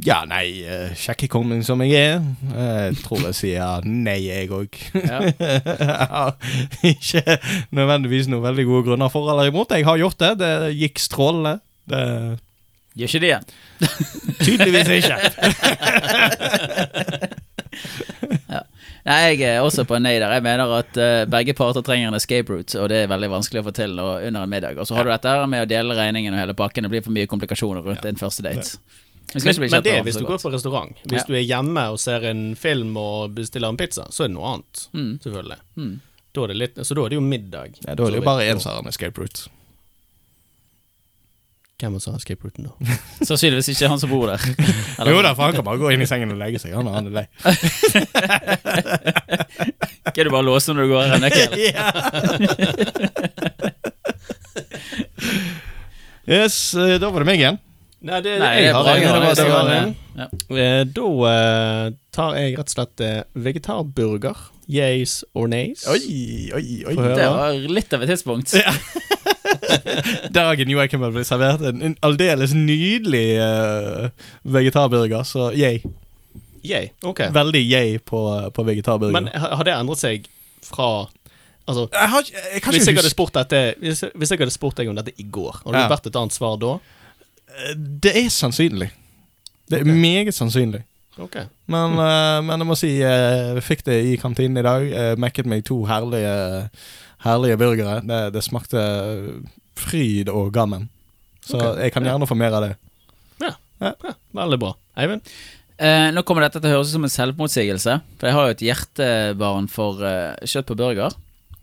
Ja, nei, eh, sjekkekongen som jeg er. eh, tror jeg sier nei, jeg òg.
Ja.
Ikke nødvendigvis noen veldig gode grunner for eller imot. Jeg har gjort det. Det gikk strålende. Det
Gjør ikke det igjen.
Tydeligvis ikke.
Nei, jeg er også på en nei der. Jeg mener at eh, begge parter trenger en escape route, og det er veldig vanskelig å få til og, under en middag. Og så har du dette her med å dele regningen og hele pakken. Det blir for mye komplikasjoner rundt en første date. Men,
Men, men det er hvis du går på restaurant. Hvis du er hjemme og ser en film og bestiller en pizza, så er det noe annet.
Mm.
Selvfølgelig. Da er det litt, så da er det jo middag.
Ja, da er det
Så
jo bare
vidt.
én som har en escape route.
Hvem er det som har escape routen, da?
Sannsynligvis ikke han som bor der. Eller-
Jo da, for han kan bare gå inn i sengen og legge seg. Han, han er lei.
Ikke du bare låser når du går her nøkkel?
Yes, eh, da var det meg igjen.
Nei, det,
Nei, det
jeg
er
har
bra.
en,
det
det var-
var-
det var en.
det var- ja.
Eh, Da eh, tar jeg rett og slett eh, vegetarburger. Yes or nays.
Oi, oi, oi.
Få høre.
Det var litt av et tidspunkt.
Dagen jo jeg kan bli servert en, en aldeles nydelig eh, vegetarburger, så yay.
Yay. Ok.
Veldig yay på, på vegetarburger.
Men eh, har har det endret seg fra Altså,
jeg har ikke, jeg kan
hvis
ikke
jeg hadde
huske
spurt dette Hvis jeg hvis jeg hadde spurt deg om dette i går, hadde
Ja.
det vært et annet svar da?
Eh, Det er sannsynlig. Det er meget sannsynlig.
Ok.
Men,
Mm.
eh, men jeg må si eh, jeg fikk det i kantinen i dag. Uh, Mekket meg to herlige, herlige burgere. Det, det smakte fryd og gammen. Så
Ok,
jeg kan gjerne få mer av det.
Ja, veldig bra. Eivind?
Eh, nå kommer dette til å høres ut som en selvmotsigelse, for jeg har jo et hjertebarn for eh, kjøtt på burger.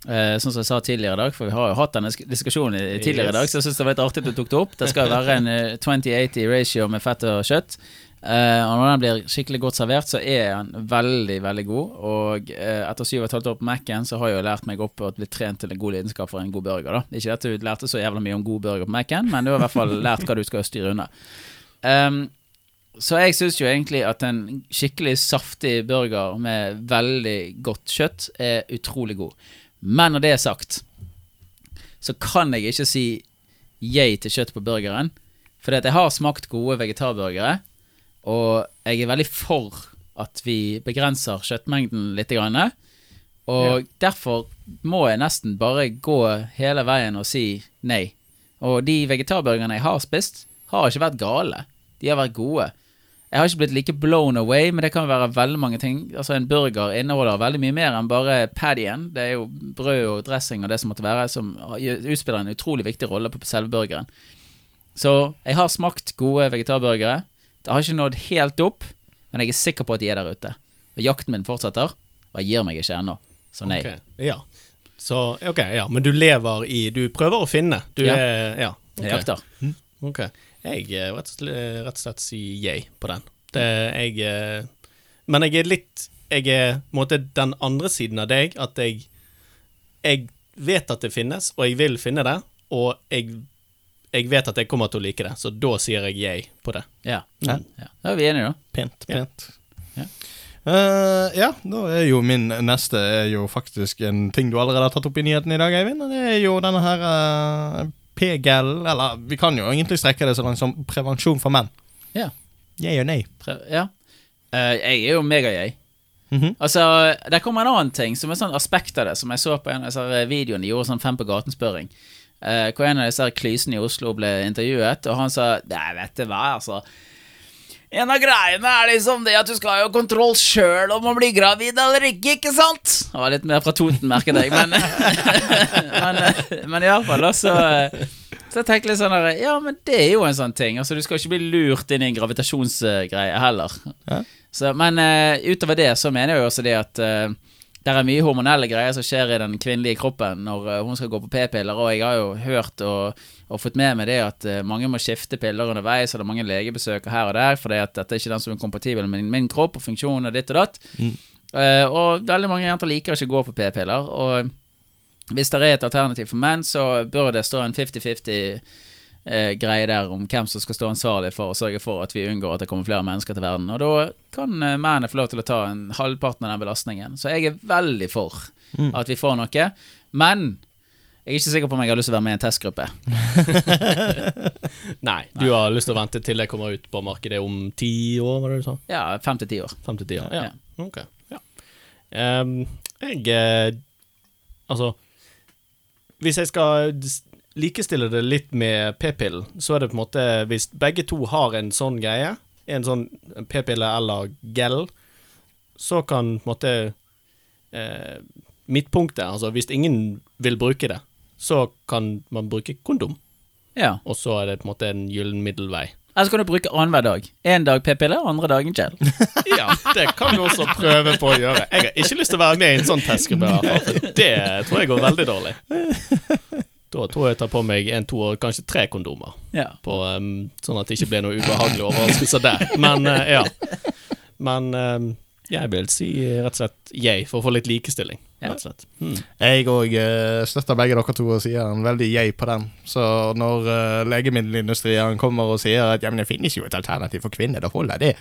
Eh, sånn som jeg sa tidligere i dag, for vi har jo hatt denne sk- diskusjonen i- i tidligere i dag, så jeg syns det var litt artig at du tok det opp. Det skal jo være en eh, 20-80 ratio med fett og kjøtt. Eh, og når den blir skikkelig godt servert, så er den veldig, veldig god. Og eh, etter syv og et halvt år på Mac-en, så har jeg jo lært meg opp og blitt trent til en god lidenskap for en god burger, da. Ikke at du lærte så jævla mye om god burger på Mac-en, men du har i hvert fall lært hva du skal styre unna. Ehm, så jeg syns jo egentlig at en skikkelig saftig burger med veldig godt kjøtt er utrolig god. Men når det er sagt, så kan jeg ikke si yay til kjøtt på burgeren. For jeg har smakt gode vegetarburgere, og jeg er veldig for at vi begrenser kjøttmengden litt. Grann, og derfor må jeg nesten bare gå hele veien og si nei. Og de vegetarburgerne jeg har spist, har ikke vært gale. De har vært gode. Jeg har ikke blitt like blown away, men det kan være veldig mange ting. Altså En burger inneholder veldig mye mer enn bare paddyen. Det er jo brød og dressing og det som måtte være, som utspiller en utrolig viktig rolle på selve burgeren. Så jeg har smakt gode vegetarburgere. Det har ikke nådd helt opp, men jeg er sikker på at de er der ute. Og jakten min fortsetter, og jeg gir meg ikke ennå. Så nei.
Ok, Ja. Så, ok, ja. Men du lever i Du prøver å finne. Du
Ja.
er Ja. ok.
Jeg jakter.
Ok. Jeg eh, rett og slett, rett og slett sier yay på den. Det, jeg eh, Men jeg er litt Jeg er på en måte den andre siden av deg, at jeg Jeg vet at det finnes, og jeg vil finne det, og jeg jeg vet at jeg kommer til å like det, så da sier jeg yay på det.
Ja.
Ja.
ja. Da er vi enige, da.
Pent, pent.
Ja.
Eh, ja, da er jo min neste er jo faktisk en ting du allerede har tatt opp i nyheten i dag, Eivind. Og det er jo denne her eh, PGL, eller vi kan jo egentlig strekke det så langt som prevensjon for menn.
Ja.
Jeg og nei.
Tre, ja. Eh, jeg er jo mega-jeg.
Mhm.
Altså, Der kommer en annen ting, som er sånn aspekt av det, som jeg så på en av disse her videoene de gjorde sånn Fem på gaten-spørring. Eh, hvor en av disse her klysene i Oslo ble intervjuet, og han sa Nei, vet du hva, altså. En av greiene er liksom det at du skal ha jo kontroll sjøl om å bli gravid eller ikke, ikke sant? Det var litt mer fra Toten, merket jeg, men Men, eh, men iallfall, da, så eh, så jeg tenkte litt sånn her, Ja, men det er jo en sånn ting. Altså, Du skal ikke bli lurt inn i en gravitasjonsgreie heller.
Ja.
Så, men eh, utover det så mener jeg jo også det at eh, det er mye hormonelle greier som skjer i den kvinnelige kroppen når eh, hun skal gå på p-piller, og jeg har jo hørt og, og fått med meg det at eh, mange må skifte piller underveis, og det er mange legebesøk her og der, fordi at dette er ikke den som er kompatibel med min, min kropp og funksjon og ditt og datt. Eh, og veldig mange jenter liker ikke å gå på p-piller, og hvis det er et alternativ for menn, så bør det stå en 50-50 eh, greie der om hvem som skal stå ansvarlig for å sørge for at vi unngår at det kommer flere mennesker til verden. Og da kan eh, mennene få lov til å ta en halvparten av den belastningen. Så jeg er veldig for at vi får noe. Men jeg er ikke sikker på om jeg har lyst til å være med i en testgruppe.
Nei, du har lyst til å vente til det kommer ut på markedet om ti år, var det du sa?
Ja, fem til ti år.
Fem til ti år? Ja. Ok. Ja. Ehm, jeg eh, Altså Hvis jeg skal dis- likestille det litt med p-pillen, så er det på en måte Hvis begge to har en sånn greie, en sånn p-pille eller gel, så kan på en måte eh, Midtpunktet, altså hvis ingen vil bruke det, så kan man bruke kondom.
Ja.
Og så er det på en måte en gyllen middelvei.
Eller så kan du bruke annenhver dag. Én dag p-piller, andre dagen gel.
Ja, det kan vi også prøve på å gjøre. Jeg har ikke lyst til å være med i en sånn testgruppe. i hvert fall, for Det tror jeg går veldig dårlig. Da tror jeg jeg tar på meg en, to og kanskje tre kondomer,
Ja.
på, em, sånn at det ikke blir noe ubehagelig overraskelse der. Men eh, ja. Men em, jeg vil si eh, rett og slett yay, for å få litt likestilling.
Ja.
Rett og slett. Mm.
Jeg òg støtter begge dere to og sier en veldig jeg på den. Så når eh, legemiddelindustrien kommer og sier at ja, men det finnes jo et alternativ for kvinner, da holder det,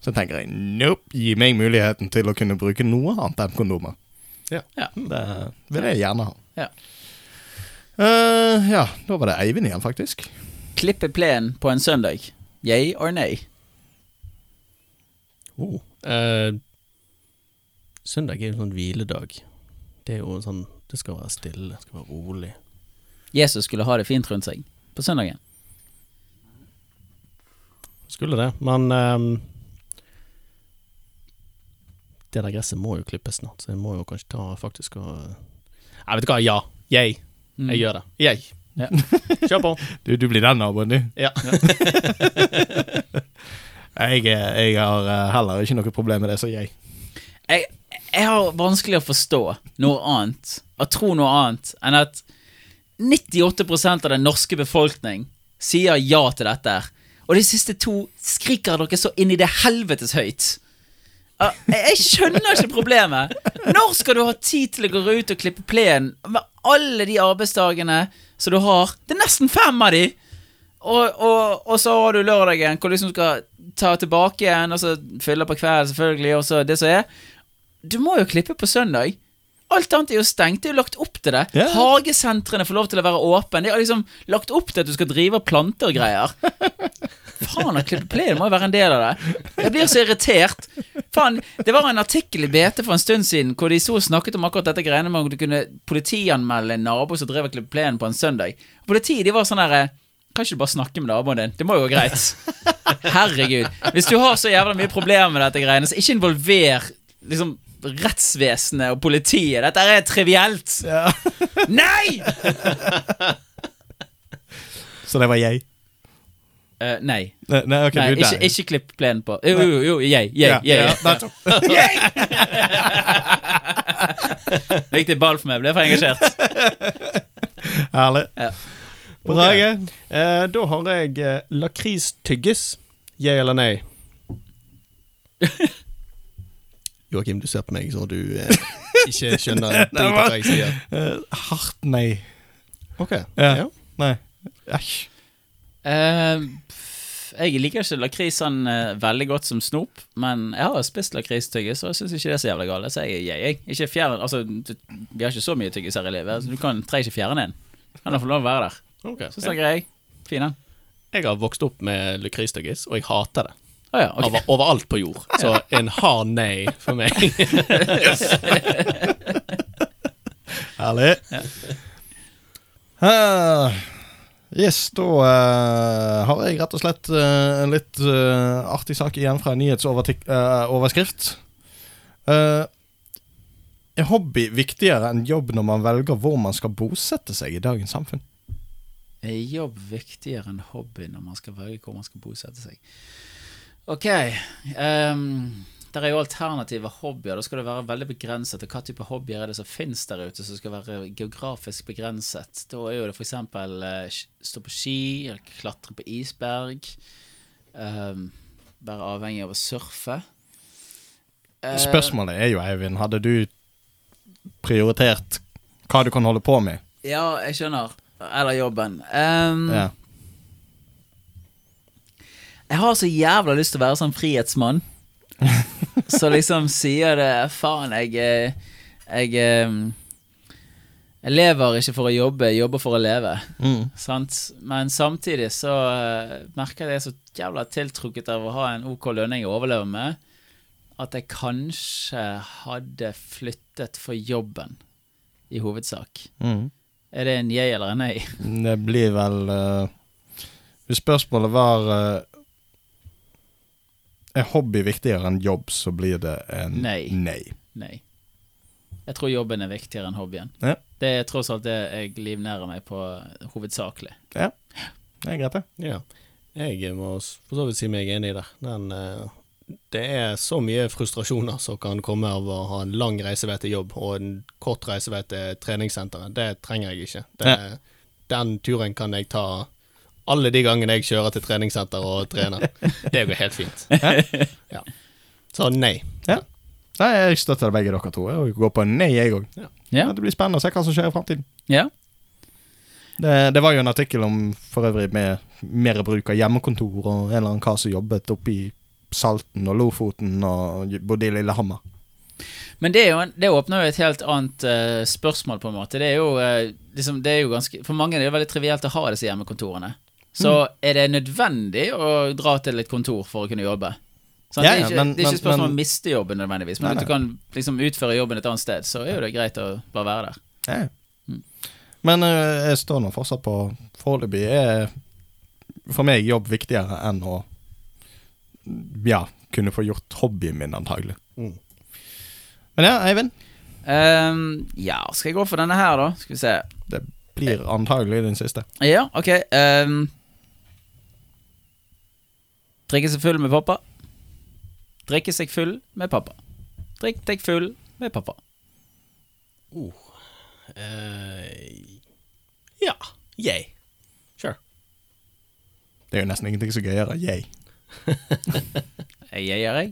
så tenker jeg nope, gi meg muligheten til å kunne bruke noe annet enn kondomer.
Ja.
Ja.
Det vil jeg gjerne ha.
Ja.
Eh, ja, da var det Eivind igjen, faktisk.
Klippe plenen på en søndag. Yay or nay?
Oh. Eh, søndag er jo en sånn hviledag. Det er jo en sånn Det skal være stille, det skal være rolig.
Jesus skulle ha det fint rundt seg på søndagen.
Skulle det, men ehm, Det der gresset må jo klippes snart, så jeg må jo kanskje ta faktisk og Jeg vet du hva, ja. Jeg. Jeg gjør det. Jeg.
Mm. Ja.
Kjør på.
Du, du blir den naboen, du.
Ja.
Jeg, eh, jeg har eh, heller ikke noe problem med det, så jeg.
jeg, jeg har vanskelig å forstå noe annet, å tro noe annet, enn at 98 av den norske befolkning sier ja til dette. her. Og de siste to skriker dere så inn i det helvetes høyt. Ah, Jeg jeg skjønner ikke problemet. Når skal du ha tid til å gå ut og klippe plenen med alle de arbeidsdagene som du har? Det er nesten fem av de! Og, og, og så har du lørdagen, hvor du liksom skal ta tilbake igjen, og så fylle på kvelden, selvfølgelig, og så det som er. Du må jo klippe på søndag. Alt annet er jo stengt. Det er jo lagt opp til det.
Ja.
Hagesentrene får lov til å være åpne. De har liksom lagt opp til at du skal drive og plante og greier. Faen, å klippe plenen må jo være en del av det. Jeg blir så irritert. Faen, det var en artikkel i BT for en stund siden hvor de så og snakket om akkurat dette greiene med om du kunne politianmelde en nabo som drev og klippet plenen på en søndag. Og Politiet de var sånn her eh, Kan ikke du bare snakke med naboen din? Det må jo gå greit. Herregud. Hvis du har så jævla mye problemer med dette greiene, så ikke involver liksom rettsvesenet og politiet. Dette er trivielt. Nei!
Så det var jeg.
Eh, nei.
Nei, nei, ok,
Nei,
du
ikke,
der.
ikke klipp plenen på. Jo, jo, jo, jeg,
Ja,
jeg, jeg.
ja,
jeg.
nettopp.
Viktig ball for meg, ble for engasjert.
Herlig.
Ja.
Brage.
Eh, da har jeg eh, lakris tygges. Jeg eller nei? Joakim, du ser på meg så du eh, ikke skjønner en drit av hva jeg sier.
Eh, hardt nei.
Ok.
Ja.
Ja.
Nei. Æsj.
Eh, pff, jeg liker ikke lakris sånn eh, veldig godt som snop, men jeg har jo spist lakristyggis, og jeg syns ikke det er så jævla galt. Så jeg, jeg, jeg, ikke fjern, altså, du, vi har ikke så mye tyggis her i livet, så du kan trenger ikke fjerne en. Han har fått lov å være der.
Ok.
Så snakker jeg. Fin den.
Jeg har vokst opp med lakristyggis, og jeg hater det.
Å ja, ok.
Over, overalt på jord. Så en hard nei for meg.
Herlig. Eh, yes, da eh, har jeg rett og slett eh, en litt eh, artig sak igjen fra en eh, nyhetsoverskrift. Uh, er hobby viktigere enn jobb når man velger hvor man skal bosette seg i dagens samfunn?
Er jobb viktigere enn hobby når man skal velge hvor man skal bosette seg? Ok. ehm, der er jo alternative hobbyer. Da skal det være veldig begrenset. Og hva type hobbyer er det som finnes der ute som skal være geografisk begrenset? Da er jo det f.eks. stå på ski, eller klatre på isberg. ehm, være avhengig av å surfe. Eh,
Spørsmålet er jo, Eivind, hadde du prioritert hva du kan holde på med?
Ja, jeg skjønner. Eller jobben. Ehm,
Ja.
Jeg har så jævla lyst til å være sånn frihetsmann. Så liksom sier det Faen, jeg eh, Jeg, eh, jeg lever ikke for å jobbe, jeg jobber for å leve. Sant? Men samtidig så eh, merker jeg at jeg er så jævla tiltrukket av å ha en OK lønning å overleve med, at jeg kanskje hadde flyttet for jobben, i hovedsak.
Mm.
Er det en jeg eller en nei?
Det blir vel eh, Hvis spørsmålet var eh, Er hobby viktigere enn jobb, så blir det en
Nei. Nei. Jeg tror jobben er viktigere enn hobbyen.
Ja.
Det er tross alt det jeg livnærer meg på hovedsakelig.
Ja, det er greit, det.
Ja. Jeg må s- for så vidt si meg enig der. Den, eh, det er så mye frustrasjoner som kan komme av å ha en lang reisevei til jobb og en kort reisevei til treningssenteret. Det trenger jeg ikke. Det, Den turen kan jeg ta alle de gangene jeg kjører til treningssenter og trener. Det går helt fint. Ja. Så nei.
Nei, jeg støtter begge dere to. Jeg går på en nei, jeg òg.
Ja.
Det blir spennende å se hva som skjer i framtiden.
ja.
Det, det var jo en artikkel om for øvrig med mer bruk av hjemmekontor, og en eller annen kar som jobbet oppe i Salten og Lofoten og bodde i Lillehammer.
Men det, er jo en, det åpner jo et helt annet eh, spørsmål, på en måte. Det er jo, eh, liksom, det er jo ganske, for mange er det jo veldig trivielt å ha disse hjemmekontorene. Så er det nødvendig å dra til et kontor for å kunne jobbe? Sant?
Ja,
det
ja,
er ikke,
men-
det er
men-
ikke spørsmål om
men-
å miste jobben nødvendigvis, men
Nei,
at du kan liksom utføre jobben et annet sted, så er jo det greit å bare være der.
Ja. Mm. Men eh, jeg står nå fortsatt på Foreløpig er for meg jobb viktigere enn å ja, kunne få gjort hobbyen min, antagelig.
Mm.
Men ja, Eivind.
Ehm, ja, skal jeg gå for denne her, da? Skal vi se.
Det blir antagelig den siste.
Ja, ok. ehm. drikke seg full med pappa. Drikke seg full med pappa. Drikk deg full med pappa.
ja. Yay. Sure.
Det er jo nesten ingenting som er gøyere. Yay.
Jeg jeg gjør jeg.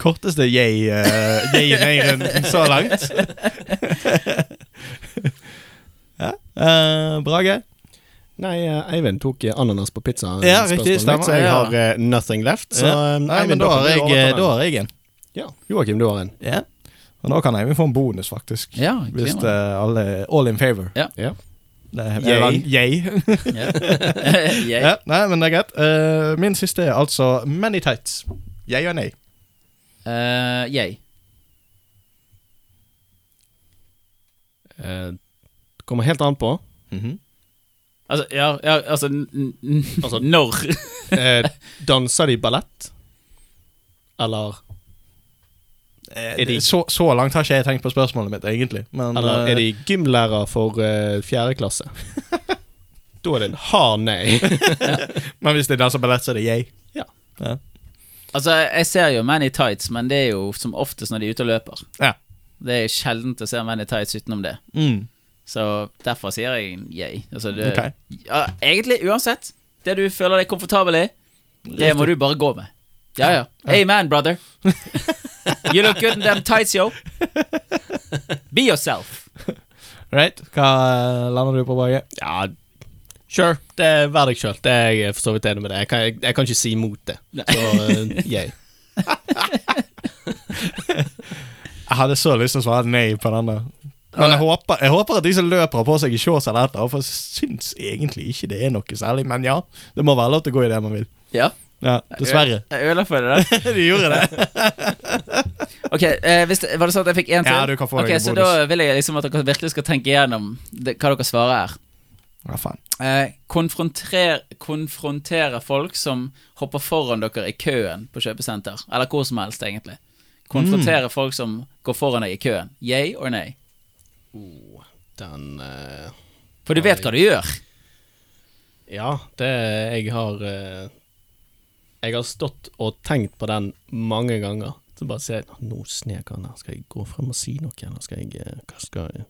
Korteste yay uh, yay-en så langt. ja. eh, Brage.
Nei, eh, Eivind tok eh, ananas på pizza. eh,
Ja,
spørsmålet
riktig,
mitt,
stemmer.
Så jeg
Ja.
har eh, nothing left. Så,
ja.
eh,
Nei, men
Eivind,
da
dere
har
får
jeg, eh,
overta den.
da har jeg en.
Ja. Joakim, du har en.
Ja. Og nå kan Eivind få en bonus, faktisk.
Ja,
Hvis det
glimrende.
er alle all in favor.
Ja.
Ja.
Det er,
Yay.
eller en yay.
Ja. jeg.
ja, nei, men det er greit. Eh, min siste er altså Many Tights. Jeg og nei.
Eh, jeg.
Eh, kommer helt an på. Mhm.
Altså, ja, ja altså, n n
Altså-
Når?
Eh, danser de ballett? Eller,
Eh,
Er de-
det- så, så langt har ikke jeg tenkt på spørsmålet mitt, egentlig. Men
eller
eh,
er de gymlærer for eh, fjerde klasse? da er det en hard nei.
men hvis det er danser ballett, så er det jeg.
ja.
Altså, jeg ser jo menn i tights, men det er jo som oftest når de er ute og løper.
Ja.
Det er sjeldent å se menn i tights utenom det.
Mm.
Så derfor sier jeg yay. Altså, det,
Ok.
ja, egentlig, uansett, det du føler deg komfortabel i, det må du bare gå med. Ja, ja. Amen, brother. You look good in them tights, yo. Be yourself.
Right? Hva eh, lander du på, Brage?
Ja, sure. Det er Vær deg sjøl. Det er jeg for så vidt enig med deg. Jeg kan, jeg, jeg kan ikke si imot det. Så eh, yeah.
Jeg hadde så lyst til å svare nei på den der. Men jeg håper, jeg håper at de som løper, har på seg shorts eller etter, for jeg syns egentlig ikke det er noe særlig. Men ja, det må være lov til å gå i det man vil.
Ja.
Ja, Dessverre.
Jeg ødela for deg der.
De gjorde det.
Ok, eh, hvis det, Var det sånn at jeg fikk én til?
Ja, du kan få
Ok,
deg en
Så
bonus.
da vil jeg liksom at dere virkelig skal tenke igjennom det, hva dere svarer her.
Ja, faen.
Eh, konfronter, konfrontere folk som hopper foran dere i køen på kjøpesenter. Eller hvor som helst, egentlig. Konfrontere folk som går foran deg i køen. Yay or nay?
Den eh,
For du vet hva du gjør.
Ja, det jeg har eh, Jeg har stått og tenkt på den mange ganger. Så bare sier jeg Nå snek han her. Skal jeg gå frem og si noe, eller skal jeg eh, Hva skal jeg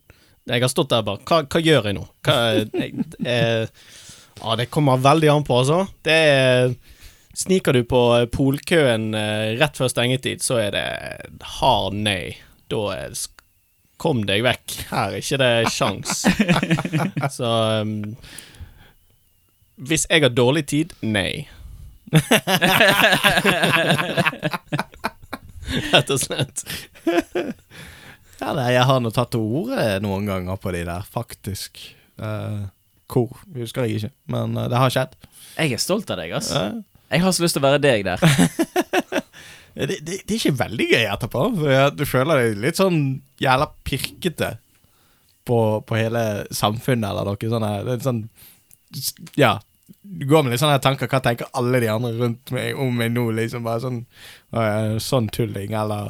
Jeg har stått der bare Hva, hva gjør jeg nå? Hva jeg, eh, Ja, det kommer veldig an på, altså. Det er Sniker du på polkøen eh, rett før stengetid, så er det hard nei. Da er det sk- Kom deg vekk. Her er ikke det sjans. så um, hvis jeg har dårlig tid, nei. Rett og slett.
Ja, nei, jeg har nå tatt til orde noen ganger på de der, faktisk. Eh, hvor, husker jeg ikke, men eh, det har skjedd.
Jeg er stolt av deg, ass.
Ja.
Jeg har så lyst til å være deg der.
Det, det, det er ikke veldig gøy etterpå, for jeg, du føler deg litt sånn jævla pirkete på, på hele samfunnet eller noe sånne, det er sånn Ja. Du går med litt sånne tanker. Hva tenker alle de andre rundt meg om meg nå? Liksom bare sånn «Å, jeg er Sånn tulling, eller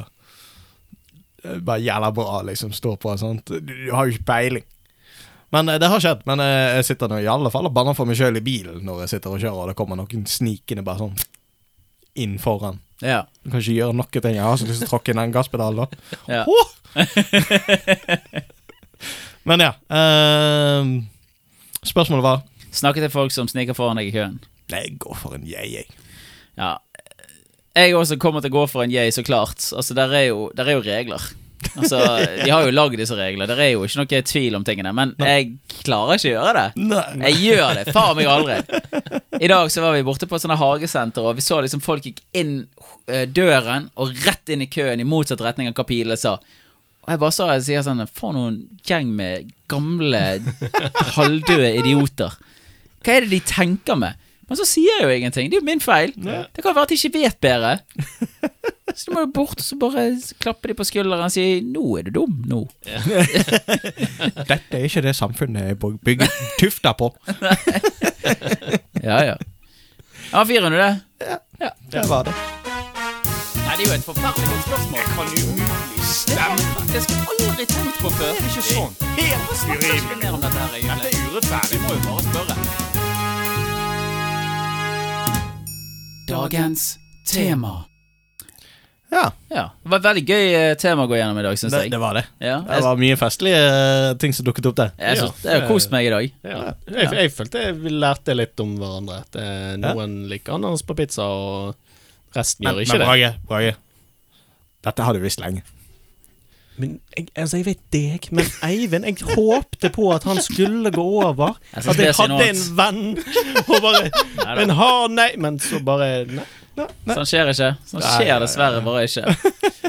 eh, Bare jævla bra, liksom. Stå på og sånt. Du, du har jo ikke peiling. Men eh, det har skjedd. Men eh, jeg sitter nå i alle fall og banner for meg sjøl i bilen når jeg sitter og kjører, og det kommer noen snikende bare sånn inn foran.
Ja,
Du kan ikke gjøre noe ting. Jeg har så lyst til å tråkke inn den gasspedalen, da.
ja.
Åh! Men ja. ehm, spørsmålet var
Snakke til folk som sniker foran deg i køen.
Nei, jeg går for en jeg, jeg.
Ja. Jeg også kommer til å gå for en yay, så klart. Altså, der er jo, der er jo regler. Altså, De har jo lagd disse reglene. Der er jo ikke noe tvil om tingene. Men jeg klarer ikke å gjøre det.
Nei.
Jeg gjør det faen meg aldri. I dag så var vi borte på et sånt her hagesenter, og vi så liksom folk gikk inn eh, døren og rett inn i køen i motsatt retning av hva pilene sa. Og jeg bare sa jeg sier sånn For noen gjeng med gamle, halvdøde idioter. Hva er det de tenker med? Men så sier jeg jo ingenting. Det er jo min feil. Det kan være at de ikke vet bedre. Så de må jo bort, og så bare klapper de på skulderen og sier 'Nå er du dum', nå.
Dette er ikke det samfunnet jeg byg- bygger tufta på.
Ja, ja. Ja, 400.
Det var det.
Nei, det er jo et forferdelig godt spørsmål. Jeg kan umulig stemme. Det har jeg faktisk aldri tenkt på før. Det er ikke sånn. Helt urimelig. Mer om dette her, dette er urettferdig. Vi må jo bare spørre. Dagens tema.
Ja,
Ja, Det var et veldig gøy eh, tema å gå gjennom i dag, syns
det,
jeg.
det var det.
Ja,
Det
jeg,
var mye festlige eh, ting som dukket opp der.
jeg, synes, jeg har kost meg i dag.
Ja. Jeg, jeg følte vi lærte litt om hverandre. At eh, noen liker ananas på pizza, og resten
Men,
gjør
men
ikke det.
Brage, Brage. Dette har du visst lenge.
Men jeg, altså, jeg vet deg, men Eivind Jeg håpte på at han skulle gå over.
Jeg skal
At jeg
si noe
hadde en venn og bare Men har nei Men så bare nei.
Sånn skjer ikke. Sånn skjer dessverre bare ikke.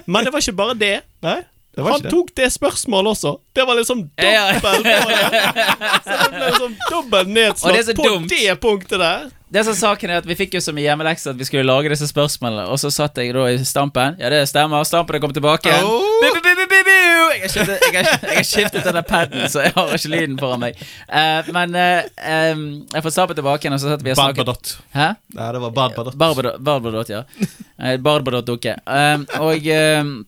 Men det var ikke bare det.
Nei, det var
Han
ikke det.
tok det spørsmålet også. Det var liksom
Ja.
dobbelt på det. Så det ble liksom dobbelt
Og det er
nedslått
så
på
dumt.
det punktet der.
Det som er saken er at Vi fikk jo som i hjemmelekse at vi skulle lage disse spørsmålene, og så satt jeg da i stampen. Ja, det stemmer. Stampen er kommet tilbake. igjen. Bu, bu, bu, bu, bu, bu. Jeg har skiftet- jeg har- jeg har skiftet denne paden, så jeg har ikke lyden foran meg. Eh, men eh, em, jeg får stampen tilbake igjen, og så satt vi og snakket
Barbadot.
Hæ?
Ja, det var Barbadot.
Barbadot. Barbadot, ja. Eh, Barbadot dukke. Um, og um,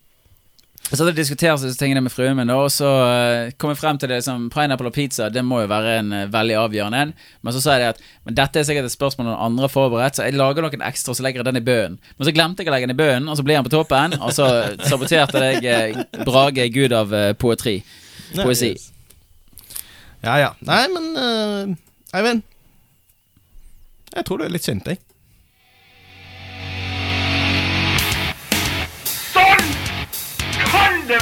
så hadde jeg diskutert disse tingene med fruen min, da, og så eh, kom jeg frem til det som pineapple og pizza, det må jo være en eh, veldig avgjørende en. Men så sa jeg det at men dette er sikkert et spørsmål noen andre har forberedt, så jeg lager noen ekstra, så legger jeg den i bøen. Men så glemte jeg å legge den i bøen, og så ble han på toppen, og så saboterte jeg eh, Brage, gud av eh, poetri. Poesi.
Ja, ja. Nei, men eh, Eivind. Jeg tror du er litt sint, jeg.
Sånn kan det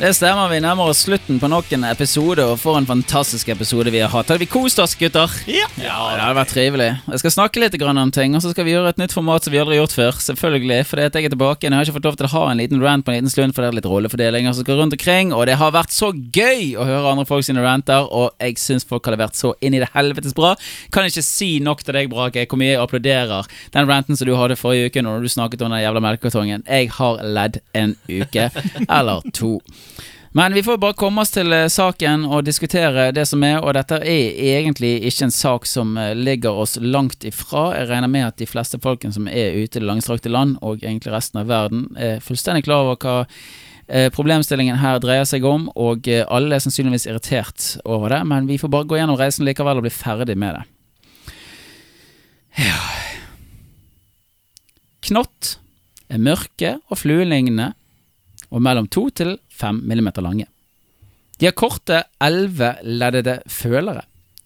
Det stemmer. Vi nærmer oss slutten på nok en episode, og for en fantastisk episode vi har hatt. Har vi kost oss, gutter?
Ja.
det har vært trivelig. Jeg skal snakke litt grann om ting, og så skal vi gjøre et nytt format som vi aldri har gjort før. Selvfølgelig, fordi at jeg er tilbake igjen. Jeg har ikke fått lov til å ha en liten rant på en liten stund, for det er litt rollefordeling som skal rundt omkring, og det har vært så gøy å høre andre folk sine ranter, og jeg syns folk har levert så inn i det helvetes bra. Kan ikke si nok til deg, Brake, hvor mye jeg applauderer den ranten som du hadde forrige uke når du snakket om den jævla melkekartongen. Jeg har ledd en uke, eller to. Men vi får bare komme oss til eh, saken og diskutere det som er, og dette er egentlig ikke en sak som eh, ligger oss langt ifra. Jeg regner med at de fleste folkene som er ute i det langstrakte land, og egentlig resten av verden, er fullstendig klar over hva eh, problemstillingen her dreier seg om, og eh, alle er sannsynligvis irritert over det, men vi får bare gå gjennom reisen likevel og bli ferdig med det. Ja Knott er mørke og fluelignende og mellom 2 til 5 mm lange. De har korte, elveleddede følere.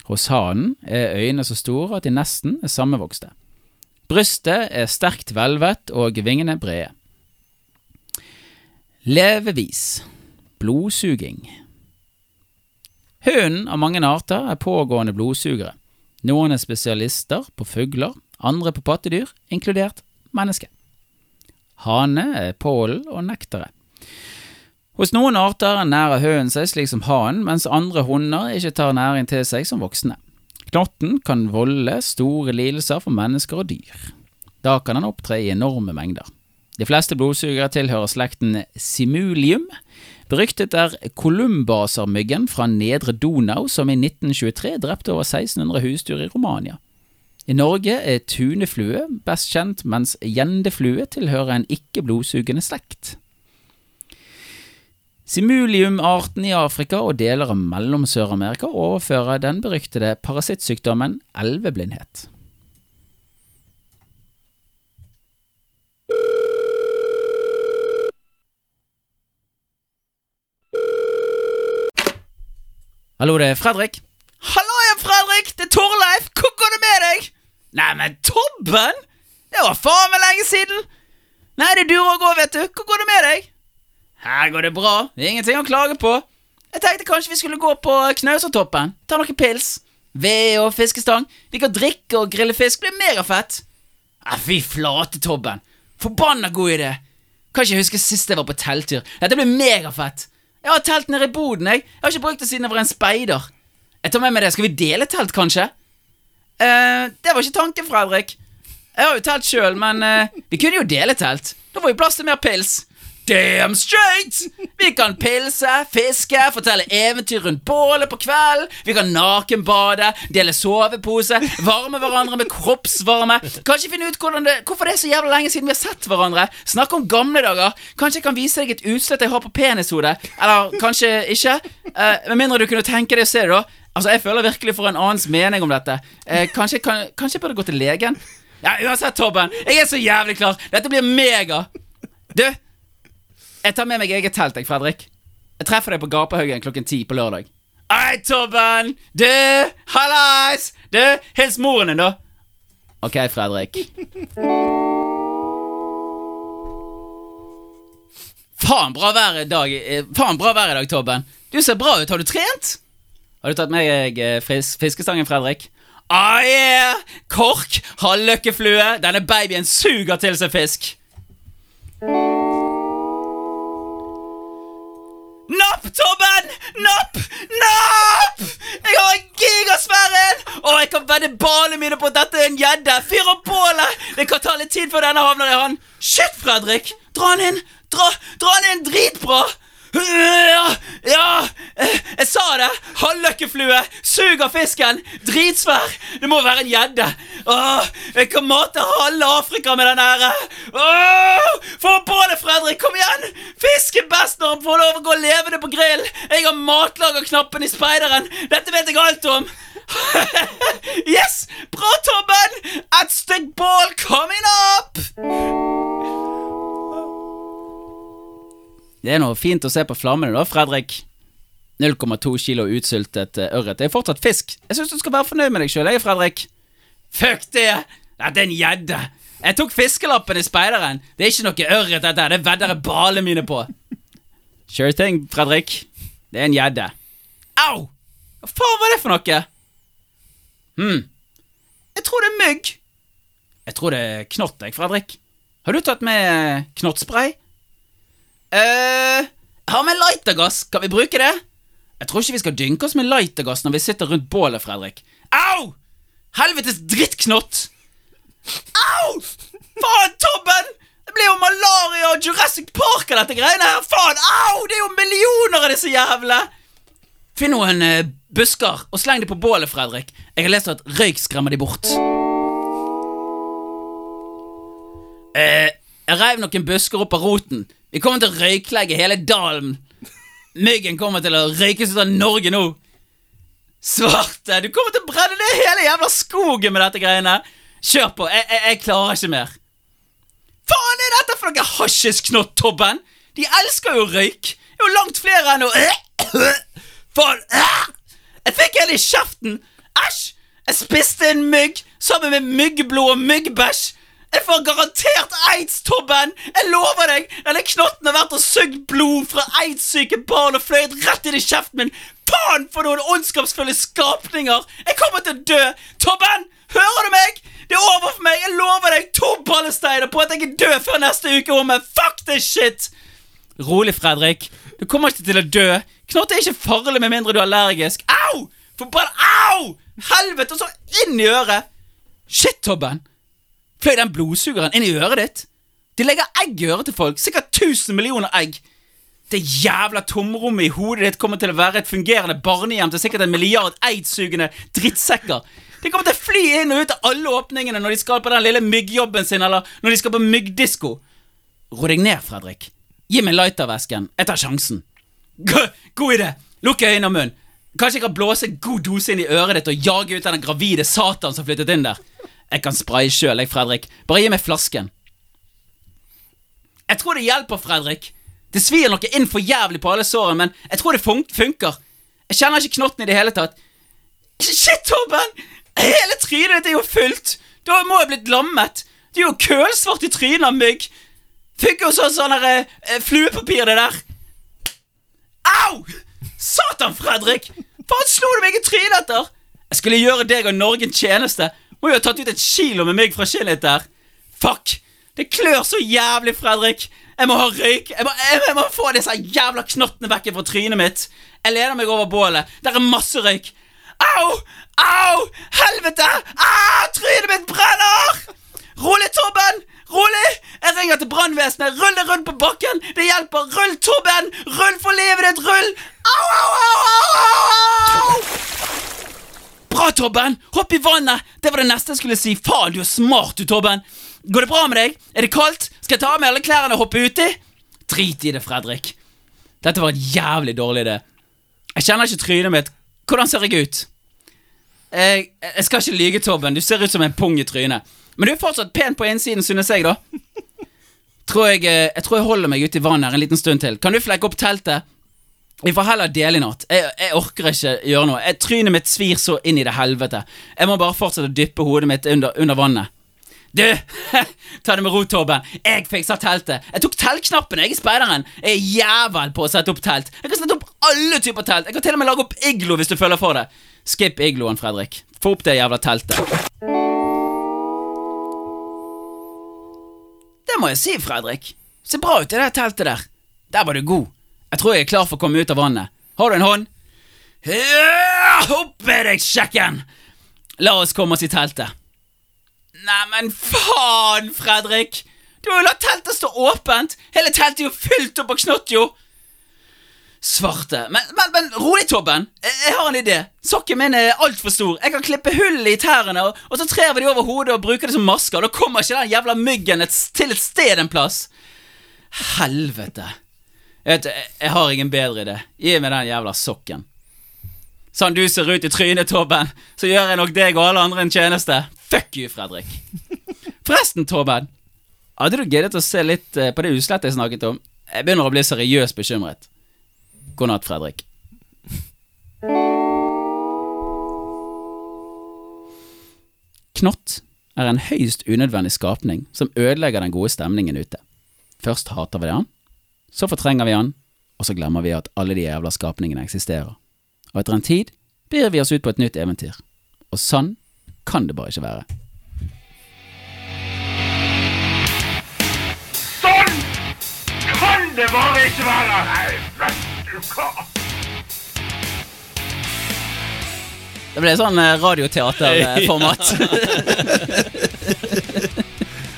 Hos hanen er øynene så store at de nesten er sammenvokste. Brystet er sterkt hvelvet og vingene brede. Levevis blodsuging. Hunden av mange arter er pågående blodsugere. Noen er spesialister på fugler, andre på pattedyr, inkludert menneske. Hane er pollen og nektere. Hos noen arter nærer hønen seg slik som hanen, mens andre hunder ikke tar næring til seg som voksne. Knotten kan volde store lidelser for mennesker og dyr. Da kan den opptre i enorme mengder. De fleste blodsugere tilhører slekten Simulium. Beryktet er kolumbasermyggen fra Nedre Donau, som i 1923 drepte over 1600 husdyr i Romania. I Norge er tuneflue best kjent, mens gjendeflue tilhører en ikke-blodsugende slekt. Simulium-arten i Afrika og deler av mellom Sør-Amerika overfører den beryktede parasittsykdommen elveblindhet. Hallo, det er Fredrik. Hallo igjen, Fredrik! Det er Torleif! Hvordan går det med deg? Neimen, Tobben! Det var faen meg lenge siden! Nei, det durer å gå, vet du. Hvordan går det med deg? Her går det bra. Det er ingenting å klage på. Jeg tenkte kanskje vi skulle gå på Knausertoppen. Ta noen pils. Ved og fiskestang. Liker å drikke og grille fisk. Blir megafett. Ja, fy flate, Tobben. Forbanna god idé. Kan ikke huske sist jeg var på telttur. Dette blir megafett. Jeg har telt nede i boden, jeg. Jeg har ikke brukt det siden jeg var en speider. Jeg tar med meg det. Skal vi dele telt, kanskje? eh, det var ikke tanken, Fredrik. Jeg har jo telt sjøl, men eh, vi kunne jo dele telt. Da får vi plass til mer pils. Damn straight! Vi kan pilse, fiske, fortelle eventyr rundt bålet på kvelden. Vi kan nakenbade, dele sovepose, varme hverandre med kroppsvarme. Kanskje finne ut hvordan det, hvorfor det er så jævla lenge siden vi har sett hverandre. Snakke om gamle dager. Kanskje jeg kan vise deg et utslett jeg har på penishodet. Eller kanskje ikke. Eh, med mindre du kunne tenke deg å se det, da. Altså, Jeg føler virkelig for en annens mening om dette. Eh, kanskje, kan, kanskje jeg burde gå til legen? Ja, Uansett, Tobben. Jeg er så jævlig klar. Dette blir mega. Du, jeg tar med meg eget telt, jeg, Fredrik. Jeg treffer deg på Gapehaugen klokken ti på lørdag. Hei, Tobben! Du! Hallais! Du, hils moren din, da. Ok, Fredrik. Faen bra vær i dag, eh, faen bra vær i dag, Tobben. Du ser bra ut. Har du trent? Har du tatt med deg eh, fris fiskestangen, Fredrik? Ah, yeah! Kork, halvløkkeflue, denne babyen suger til seg fisk. Napp, Tobben! Napp! Napp! Jeg har en gigasvær en! Og jeg kan vedde balene mine på at dette er en gjedde. Fyr opp bålet! Det kan ta litt tid før denne havner i han. Shit, Fredrik! Dra han inn! Dra, dra han inn dritbra! Ja, ja, eh, jeg sa det! Halvløkkeflue! Suger fisken! Dritsvær! Det må være en gjedde! Åh, Jeg kan mate halve Afrika med den her! Åh, Få på det, Fredrik! Kom igjen! Fisk er best når han får lov å gå levende på grill! Jeg har matlagerknappen i speideren! Dette vet jeg alt om! yes! Bra, Tobben! Et stygg bål coming up! Det er noe fint å se på flammene da, Fredrik. 0,2 kilo utsultet eh, ørret. Det er fortsatt fisk. Jeg syns du skal være fornøyd med deg sjøl, jeg, Fredrik. Fuck det! Dette er en gjedde. Jeg tok fiskelappen i speideren. Det er ikke noe ørret, dette. her. Det vedder jeg balene mine på. Sure thing, Fredrik. Det er en gjedde. Au! Hva faen var det for noe? Hm. Jeg tror det er mygg. Jeg tror det er knott, jeg, Fredrik. Har du tatt med knottspray? eh, jeg har med lightergass. Kan vi bruke det? Jeg tror ikke vi skal dynke oss med lightergass når vi sitter rundt bålet, Fredrik. Au! Helvetes drittknott! Au! Faen, Tobben! Det blir jo malaria og Jurassic Park av dette greiene her. Faen, au! Det er jo millioner av disse jævla Finn noen eh, busker og sleng det på bålet, Fredrik. Jeg har lest at røyk skremmer de bort. Eh, jeg reiv noen busker opp av roten. Vi kommer til å røyklegge hele dalen. Myggen kommer til å røykes ut av Norge nå. Svarte, du kommer til å brenne ned hele jævla skogen med dette greiene. Kjør på, jeg, jeg, jeg klarer ikke mer. Faen er dette for noe hasjesknott, Tobben? De elsker jo røyk. Det er jo langt flere enn å Faen. Jeg fikk en i kjeften. Æsj. Jeg spiste en mygg sammen med myggblod og myggbæsj. Jeg får garantert aids, Tobben! Jeg lover deg! Denne knotten har vært og sugd blod fra aidssyke barn og fløyet rett inn i kjeften min. Faen for noen ondskapsfulle skapninger! Jeg kommer til å dø! Tobben! Hører du meg? Det er over for meg! Jeg lover deg to ballesteiner på at jeg er død før neste uke, Omme! Fuck this shit! Rolig, Fredrik. Du kommer ikke til å dø. Knott er ikke farlig med mindre du er allergisk. Au! Forbann... Au! Helvete, og så inn i øret! Shit, Tobben. Fløy den blodsugeren inn i øret ditt? De legger egg i øret til folk. Sikkert 1000 millioner egg. Det jævla tomrommet i hodet ditt kommer til å være et fungerende barnehjem til sikkert en milliard eidsugende drittsekker. De kommer til å fly inn og ut av alle åpningene når de skal på den lille myggjobben sin, eller når de skal på myggdisko. Ro deg ned, Fredrik. Gi meg lightervesken. Jeg tar sjansen. God, god idé! Lukk øynene og munn. Kanskje jeg kan blåse en god dose inn i øret ditt og jage ut den gravide satan som flyttet inn der. Jeg kan spraye sjøl, jeg, Fredrik. Bare gi meg flasken. Jeg tror det hjelper, Fredrik. Det svir noe inn for jævlig på alle sårene, men jeg tror det fun funker. Jeg kjenner ikke knotten i det hele tatt. Shit, Torben! Hele trynet ditt er jo fullt! Da må jeg blitt lammet! Du er jo kølsvart i trynet av mygg! Funker jo sånn sånn der, eh, fluepapir, det der. Au! Satan, Fredrik! Faen slo du meg i trynet etter? Jeg skulle gjøre deg og Norge en tjeneste. Må jo ha tatt ut et kilo med mygg fra kinnet ditt der. Fuck! Det klør så jævlig, Fredrik. Jeg må ha røyk. Jeg må, jeg, jeg må få disse jævla knottene vekk fra trynet mitt. Jeg lener meg over bålet. Der er masse røyk. Au! Au! Helvete! Au! Trynet mitt brenner! Rolig, Torben! Rolig! Jeg ringer til brannvesenet. Rull det rundt på bakken. Det hjelper. Rull, Torben! Rull for livet ditt! Rull! Au, au, au, au, au! au! Bra, Tobben! Hopp i vannet! Det var det neste jeg skulle si. Faen, du er smart, du, Tobben. Går det bra med deg? Er det kaldt? Skal jeg ta av meg alle klærne og hoppe uti? Drit i det, Fredrik. Dette var en jævlig dårlig idé. Jeg kjenner ikke trynet mitt. Hvordan ser jeg ut? Jeg, jeg skal ikke lyge, Tobben. Du ser ut som en pung i trynet. Men du er fortsatt pen på innsiden, synes jeg, da. Tror jeg, eh, jeg tror jeg holder meg ute i vannet her en liten stund til. Kan du flekke opp teltet? Vi får heller dele i natt. Jeg, jeg orker ikke gjøre noe. Jeg, trynet mitt svir så inn i det helvete. Jeg må bare fortsette å dyppe hodet mitt under, under vannet. Du, ta det med ro, Torben. Jeg fikser teltet. Jeg tok teltknappen, jeg, i speideren. Jeg er jævel på å sette opp telt. Jeg kan sette opp alle typer telt. Jeg kan til og med lage opp iglo hvis du føler for det. Skip igloen, Fredrik. Få opp det jævla teltet. Det må jeg si, Fredrik. Ser bra ut i det teltet der. Der var du god. Jeg tror jeg er klar for å komme ut av vannet. Har du en hånd? Ja, Opp med deg, kjekken! La oss komme oss i teltet. Neimen, faen, Fredrik! Du har jo latt teltet stå åpent! Hele teltet er jo fylt opp av knott, jo! Svarte. Men, men, men rolig, Tobben. Jeg, jeg har en idé. Sokken min er altfor stor. Jeg kan klippe hull i tærne, og, og så trer vi de over hodet og bruker det som masker. Da kommer ikke den jævla myggen et, s- til et sted en plass. Helvete. Jeg, vet, jeg, jeg har ingen bedre idé. Gi meg den jævla sokken. Sånn du ser ut i trynet, Tobben, så gjør jeg nok deg og alle andre en tjeneste. Fuck you, Fredrik. Forresten, Tobben. Hadde du giddet å se litt eh, på det uslettet jeg snakket om? Jeg begynner å bli seriøst bekymret. God natt, Fredrik. Knott er en høyst unødvendig skapning som ødelegger den gode stemningen ute. Først hater vi han, så fortrenger vi han, og så glemmer vi at alle de jævla skapningene eksisterer. Og etter en tid begir vi oss ut på et nytt eventyr. Og sånn kan det bare ikke være.
Sånn kan det bare ikke være! Nei, vet du hva?
Det ble sånn eh, radioteaterformat.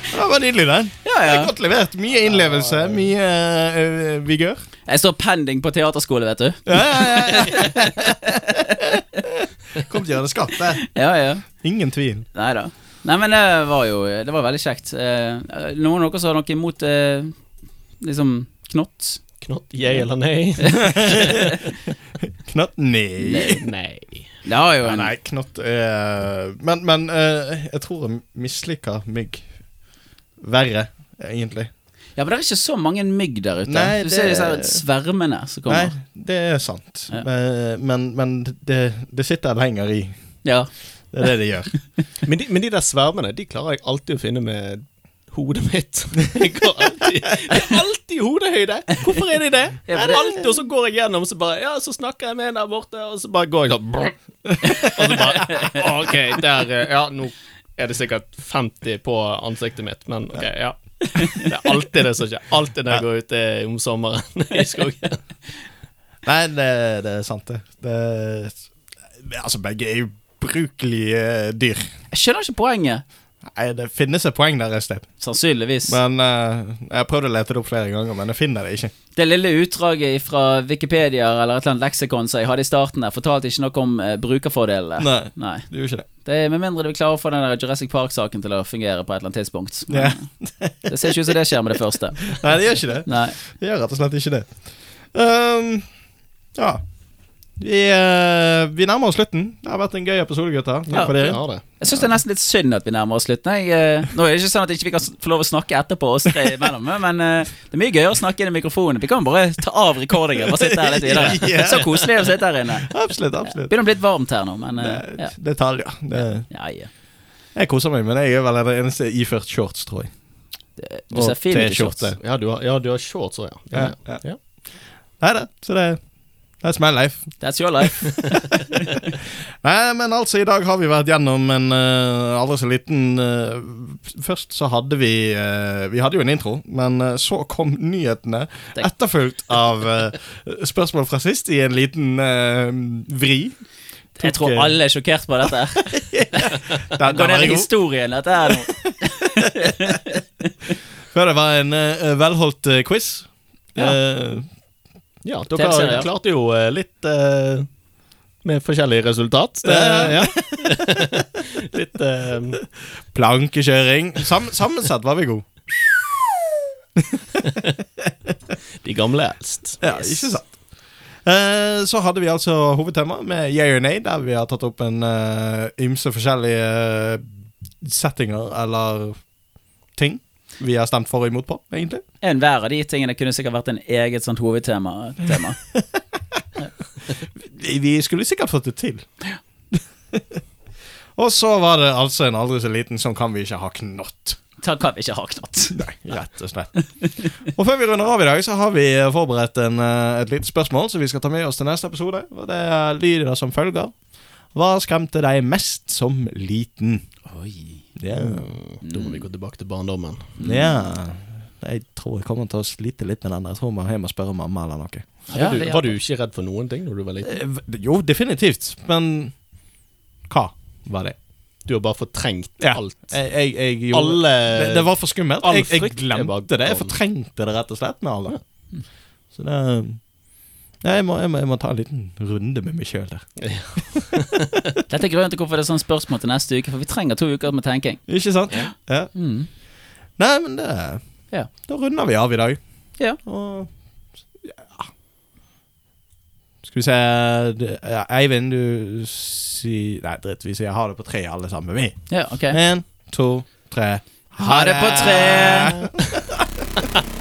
Det var nydelig, den.
ja, ja.
Godt levert. Mye innlevelse, mye eh, vigør.
Jeg står pending på teaterskole, vet du.
Kom til å gjøre det skapt, det.
Ja, ja.
Ingen tvil.
Nei da. Nei, men det var jo Det var veldig kjekt. Eh, Noen av dere som har noe imot eh, liksom knott?
Knott, yeah eller nei?
Knatt nei.
nei.
Det har jo en
Nei, knott eh, Men, men eh, jeg tror jeg misliker mygg verre, egentlig.
Ja, men det er ikke så mange mygg der ute.
Nei,
du ser
det-
disse her svermene som
Nei,
kommer.
det er sant.
Ja.
Eh, Men, men det, det sitter lenger i.
Ja.
Det er det det gjør.
Men de, men de der svermene de klarer jeg alltid å finne med hodet mitt. Jeg går alltid, jeg er alltid i hodehøyde! Hvorfor er de det? Jeg er alltid, Og så går jeg gjennom, og så bare Ja, så snakker jeg med en der borte, og så bare går jeg sånn brr. Og så bare OK, der eh, Ja, nå er det sikkert 50 på ansiktet mitt, men OK, ja. Det er alltid det som skjer. Alltid når jeg går ute om sommeren i skogen.
Nei, det, det er sant, det. det altså, begge er jo brukelige eh, dyr.
Jeg skjønner ikke poenget.
Nei, det finnes et poeng der et sted.
Sannsynligvis.
Men eh, jeg har prøvd å lete det opp flere ganger, men jeg finner det ikke.
Det lille utdraget fra Wikipedia eller et eller annet leksikon som jeg hadde i starten der, fortalte ikke noe om eh, brukerfordelene.
Nei.
Nei.
Det gjør ikke det.
Det er Med mindre du klarer å få den der Jurassic Park-saken til å fungere på et eller annet tidspunkt. Men Det ser ikke ut som det skjer med det første.
Nei, det gjør ikke det.
Nei.
Det gjør rett og slett ikke det. Ehm, ja. Vi, eh, vi nærmer oss slutten. Det har vært en gøy episode, gutter. Takk
Ja,
for dere.
har det.
Jeg syns det er nesten litt synd at vi nærmer oss slutten. Jeg, eh, nå er det ikke sånn at ikke vi ikke kan s- få lov å snakke etterpå, oss tre imellom, men eh, det er mye gøyere å snakke inn i mikrofonen. Vi kan bare ta av rekordingen og sitte her litt videre. Så koselig å sitte her inne.
Absolutt. absolutt
Begynner å bli litt varmt her nå, men eh, ja.
Detaljer. Det,
Ja, ja.
jeg koser meg, men jeg er vel den eneste iført shorts, tror jeg.
Du ser
Og
fin ut i shorts.
T-skjorte.
Ja, du har, ja, du har shorts òg, ja. Ja, ja. ja.
Nei da, så det That's my life.
That's your life.
Nei, men altså, i dag har vi vært gjennom en eh, aldri så liten eh, Først så hadde vi eh, Vi hadde jo en intro, men eh, så kom nyhetene.
Det-
Etterfulgt av eh, spørsmål fra sist i en liten eh, vri.
Jeg tror
eh,
alle er sjokkert på dette. her.
Den,
Går
den
ned
var
i
god.
historien, dette her nå.
Før det var en eh, velholdt eh, quiz.
Ja.
Eh,
Ja,
Tepser,
dere
ja.
klarte jo eh, litt eh, med forskjellige resultat. Det, ja. litt eh,
plankekjøring. Sam, sammensett var vi gode.
de gamle eldst.
Ja, ikke sant. Eh, Så hadde vi altså hovedtema med yeah og nay, der vi har tatt opp en eh, ymse forskjellige eh, settinger eller ting vi har stemt for og imot på, egentlig.
Enhver av de tingene kunne sikkert vært en eget sånt hovedtema. Tema.
Vi vi skulle sikkert fått det til. og så var det altså en aldri så liten som kan vi ikke ha knott.
Ta kan vi ikke ha knott.
Nei, rett og slett. og før vi runder av i dag, så har vi forberedt en, eh, et lite spørsmål som vi skal ta med oss til neste episode. Og det er lyder som følger. Hva skremte deg mest som liten?
Oi.
Ja.
Mm. Da må vi gå tilbake til barndommen.
Jeg tror jeg kommer til å slite litt med den. der. Jeg tror jeg må hjem og spørre mamma eller noe.
Ja,
du,
det-
var du ikke redd for noen ting når du var liten?
Eh, Jo, definitivt. Men hva var det?
Du har bare fortrengt alt.
Jeg, jeg, jeg gjorde
Alle
det, det var for skummelt.
All
Jeg, jeg
frykt er bare
glemte det. Jeg
gone.
fortrengte det rett og slett med alle. Så det Nei, jeg, må, jeg, må, jeg må ta en liten runde med meg sjøl der.
Dette er grunnen til hvorfor det er sånn spørsmål til neste uke, for vi trenger to uker med tenking.
Ikke sant? Ja.
Mm.
Nei, men det
Ja.
Da runder vi av i dag.
Ja.
Og ja. Skal vi se det- ja, Eivind, du sier Nei, dritt. Vi sier ha det på tre, alle sammen. Vi. Eh,
ja, ok.
Én, to, tre.
Ha det på tre!